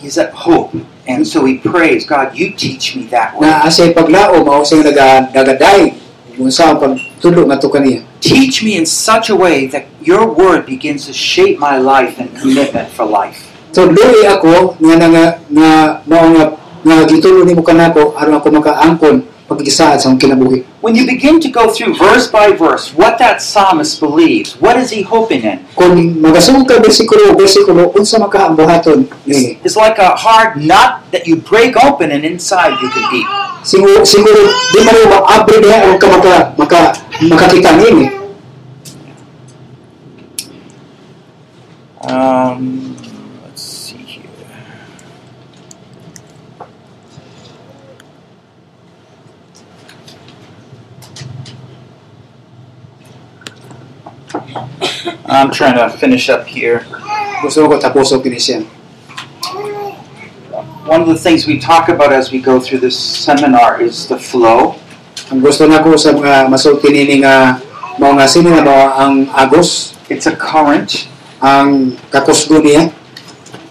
A: He's at hope, and so he prays, God, you teach me that way.
B: na asay paglao mao siya naga nagadayeg kung sa ang pagtulo ngadto kaniya
A: Teach me in such a way that your word begins to shape my life and commitment for life.
B: tudloy ako nga nga nga mao nga nga gitulo nimo kanako aron ako makaangkon pagigsaad sa akong kinabuhi
A: When you begin to go through verse by verse what that psalmist believes, what is he hoping in?
B: kung magasong ka bersikulo bersikulo unsa Eh, makaambuhaton nini
A: It's like a hard nut that you break open and inside you can eat.
B: siguro siguro di man mo abri diha aron ka maka maka makakita eh. nini
A: Um, let's see here. I'm trying to finish up here.
B: gusto ko tapos kini siya
A: One of the things we talk about as we go through this seminar is the flow.
B: ang gusto nako sa mga masulti nini nga mao nga sino nga mao ang agos
A: It's a current.
B: ang kakusgo niya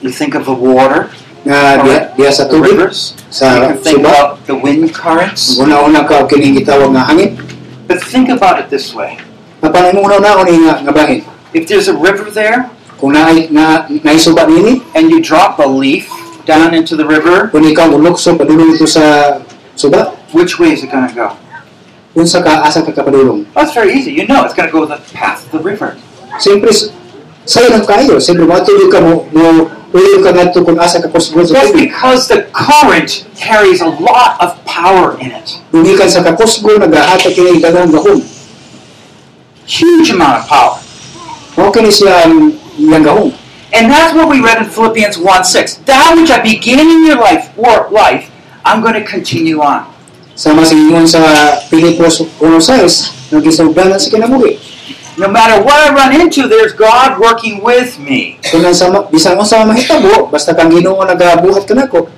A: You think of the water,
B: nga diha, diha sa
A: the
B: tubig
A: rivers. You
B: sa
A: can think
B: Uh, suba
A: about the wind currents.
B: una-una ka og kining gitawag nga hangin
A: But think about it this way.
B: Napanimuno na ako ni nga, nga bahin.
A: If there's a river there
B: Kung naay na, naisuba nini,
A: and you drop a leaf down into the river,
B: kung ikaw ulokso padulong ito sa suba,
A: which way is it going to go?
B: unsa ka asa ka kapadulong.
A: That's very easy. You know it's going to go the path of the river.
B: Siyempre, sayo lang kayo. Siyempre, matuloy ka mo, mo ulo ka nga kung asa ka kusgo sa
A: That's
B: tubig.
A: because the current carries a lot of power in it.
B: Dumikan sa kakusgo, nagahata kini dagang gahom.
A: Huge amount of power.
B: Mao kini siya um, ang iyang gahom.
A: And that's what we read in Philippians 1 6. That which I began in your life, or life, I'm going to continue on.
B: Sama sa ingon sa Pilipos 1.6, nagisugdan na sa kinabuhi.
A: No matter what I run into, there's God working with me.
B: Kung ang sama, bisan mo sa mahitabo, basta kang ginoo nagabuhat ka nako,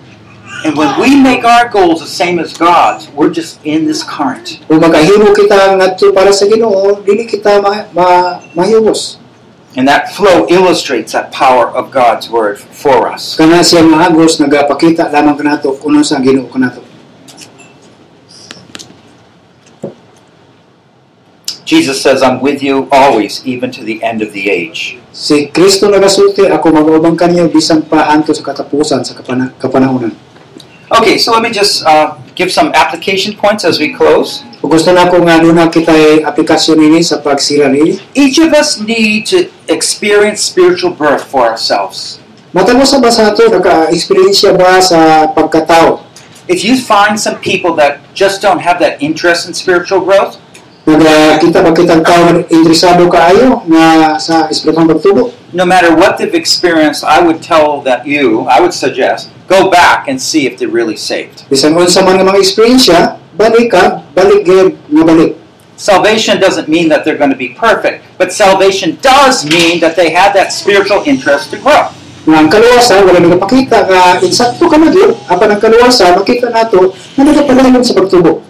A: And when we make our goals the same as God's, we're just in this current.
B: Kung makahimo kita ngadto para sa Ginoo, dili kita ma, ma mahibos.
A: And that flow illustrates that power of God's word for us.
B: Kana siya maagos nagapakita lamang kanato kuno ano sa Ginoo kanato.
A: Jesus says, I'm with you always, even to the end of the age.
B: Si Kristo nagasulti ako mag-ubang kaniya bisan pa hanto sa katapusan sa kapana, kapanahonan.
A: Okay, so let me just uh, give some application points as we close.
B: Kung gusto na ko nga nuna kita aplikasyon ini sa pagsira nini.
A: Each of us need to experience spiritual birth for ourselves.
B: Matamo sa ba sa ato naka-experience ba sa pagkatao?
A: If you find some people that just don't have that interest in spiritual growth,
B: Nagakita ba kitang tao na interesado kaayo nga sa espirituwang pagtubo?
A: no matter what they've experienced, I would tell that you, I would suggest, go back and see if they're really saved.
B: Bisan unsa man nga mga experience siya, balik ka, balik gyud nga balik.
A: Salvation doesn't mean that they're going to be perfect, but salvation does mean that they have that spiritual interest to grow.
B: nga ang kaluwasan wala nagapakita nga insakto ka na gyud apan ang kaluwasan makita nato nga nagapadayon sa pagtubo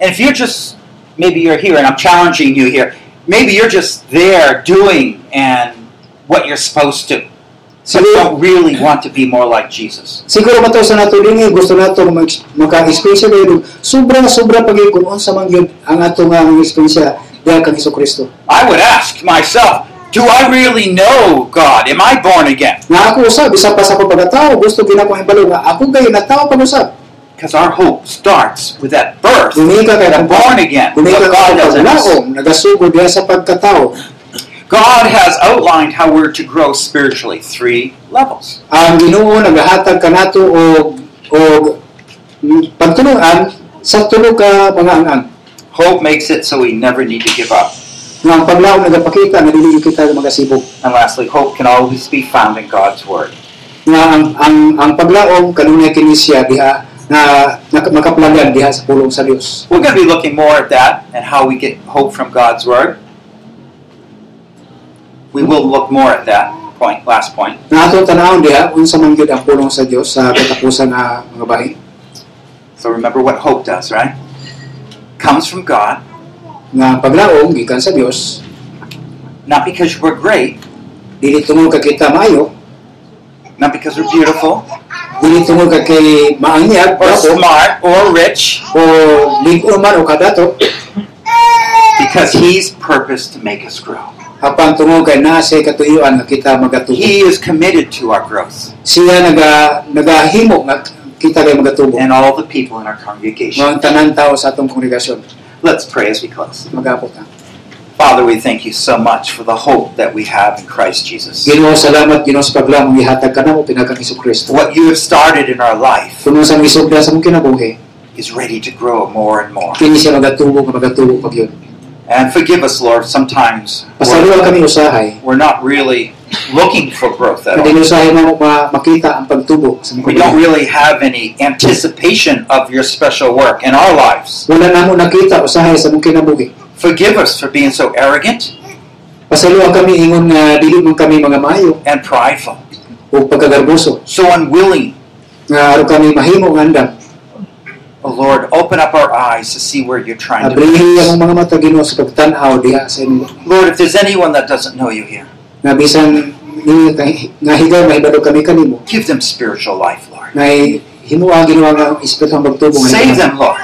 A: And if you're just, maybe you're here, and I'm challenging you here, maybe you're just there doing and what you're supposed to. So you
B: siguro
A: don't really want to be more like Jesus.
B: siguro mato sa nato dinhi gusto nato mag- maka-experience gyud sobra sobra pagay kun unsa man gyud ang ato nga ang experience diha kang Hesus Kristo
A: I would ask myself, do I really know God? Am I born again?
B: nga ako usab isa pa sa ako pagkatao gusto gyud ako hibalo nga ako gay natawo pag usab
A: Because our hope starts with that birth,
B: Dili ka kay
A: that born again.
B: dili ka
A: What God
B: kay
A: does in us.
B: paglaom nagasugod diha sa pagkatao
A: God has outlined how we're to grow spiritually, three levels.
B: ang Ginoo nagahatag kanato og og pagtuluan sa tulo ka mga angang
A: Hope makes it so we never need to give up.
B: nga ang paglaom nagapakita na dili kita magasibog
A: And lastly, hope can always be found in God's Word.
B: nga ang ang ang paglaom kanunay kini siya diha na, na makaplagan diha sa pulong sa Dios
A: We're going to be looking more at that and how we get hope from God's Word. We will look more at that point, last point.
B: Na ato tanawon diha unsa man gyud ang pulong sa Dios sa katapusan nga mga bahin.
A: So remember what hope does, right? Comes from God,
B: Nga paglaom gikan sa Dios,
A: not because we're great,
B: dili tungod ka kita maayo,
A: not because we're beautiful,
B: dili tungod ka kay maanyag
A: or
B: dato
A: smart, or rich,
B: o lig-o man o kadato,
A: because He's purposed to make us grow.
B: apan tungod kay naa sa katuyoan nga kita magatubo.
A: He is committed to our growth
B: Siya naga nagahimo nga kita kay magatubo.
A: and all the people in our congregation.
B: Mga tanan tao sa atong kongregasyon,
A: Let's pray as we close.
B: magapot na.
A: Father, we thank you so much for the hope that we have in Christ Jesus.
B: Ginoo salamat Ginoo sa paglaom gihatag kanamo pinakang Kristo.
A: What you have started in our life
B: Kuno sa misugda sa mong kinabuhi,
A: is ready to grow more and more.
B: kini siya magatubo nga magatubo pag yun.
A: And forgive us, Lord, sometimes we're,
B: Pasaluwa kami usahay
A: we're not really looking for growth at all.
B: Kadin usahay mo ma makita ang pagtubo sa
A: We don't
B: mga kulang.
A: really have any anticipation of your special work in our lives.
B: Wala na mo nakita usahay sa mong kinabuhi.
A: Forgive us for being so arrogant
B: Pasaluwa kami ingon nga dili man kami mga maayo
A: and prideful,
B: o pagkagarboso
A: so unwilling.
B: nga araw kami mahimo nga andam.
A: Oh Lord, open up our eyes to see where you're trying to
B: Abrihi
A: bring us.
B: ang mga mata Ginoo sa pagtan-aw diha sa imo.
A: Lord, if there's anyone that doesn't know you here,
B: Nga bisan ni nga higaw mahibalo kami kanimo.
A: give them spiritual life, Lord.
B: Nga himo ang Ginoo nga espiritu ang pagtubo nga
A: Save
B: iwan.
A: them, Lord,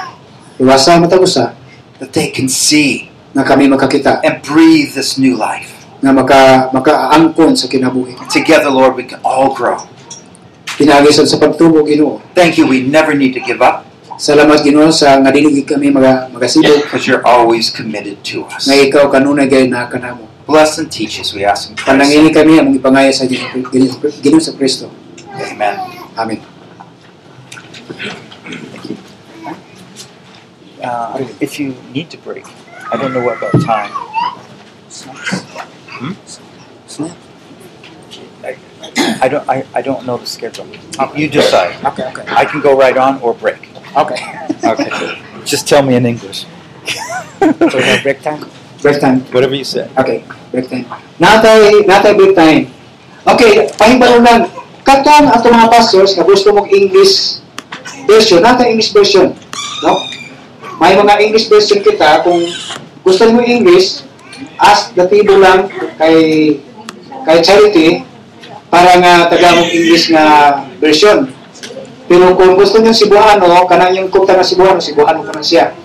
B: Iwasa matag usa
A: that they can see
B: nga kami makakita
A: and breathe this new life.
B: nga maka makaangkon sa kinabuhi.
A: Together, Lord, we can all grow.
B: Pinagisan sa pagtubo Ginoo.
A: Thank you. We never need to give up
B: Salamat Ginoo sa nga dili gid kami mga magasibog
A: because you're always committed to us.
B: nga ikaw kanunay gay na kanamo.
A: Bless and teach us, we ask in Christ's name.
B: Panangini kami ang ipangaya sa Ginoo Ginoo sa Kristo.
A: Amen.
B: Amen.
C: Uh, if you need to break, I don't know what about time. I don't. I, I don't know the schedule.
A: You decide.
C: Okay. Okay.
A: I can go right on or break.
C: Okay.
A: Okay.
C: Just tell me in English. so we have break time.
B: Break time.
C: Whatever you say.
B: Okay, break time. Natay, natay break time. Okay, pahimbalo lang. Katong ato mga pastors na gusto mong English version, natay English version. No? May mga English version kita kung gusto mo English, ask the table lang kay kay Charity para nga taga mong English na version. Pero kung gusto niyo Cebuano, kanang yung kumta ng Cebuano, Cebuano ka na siya.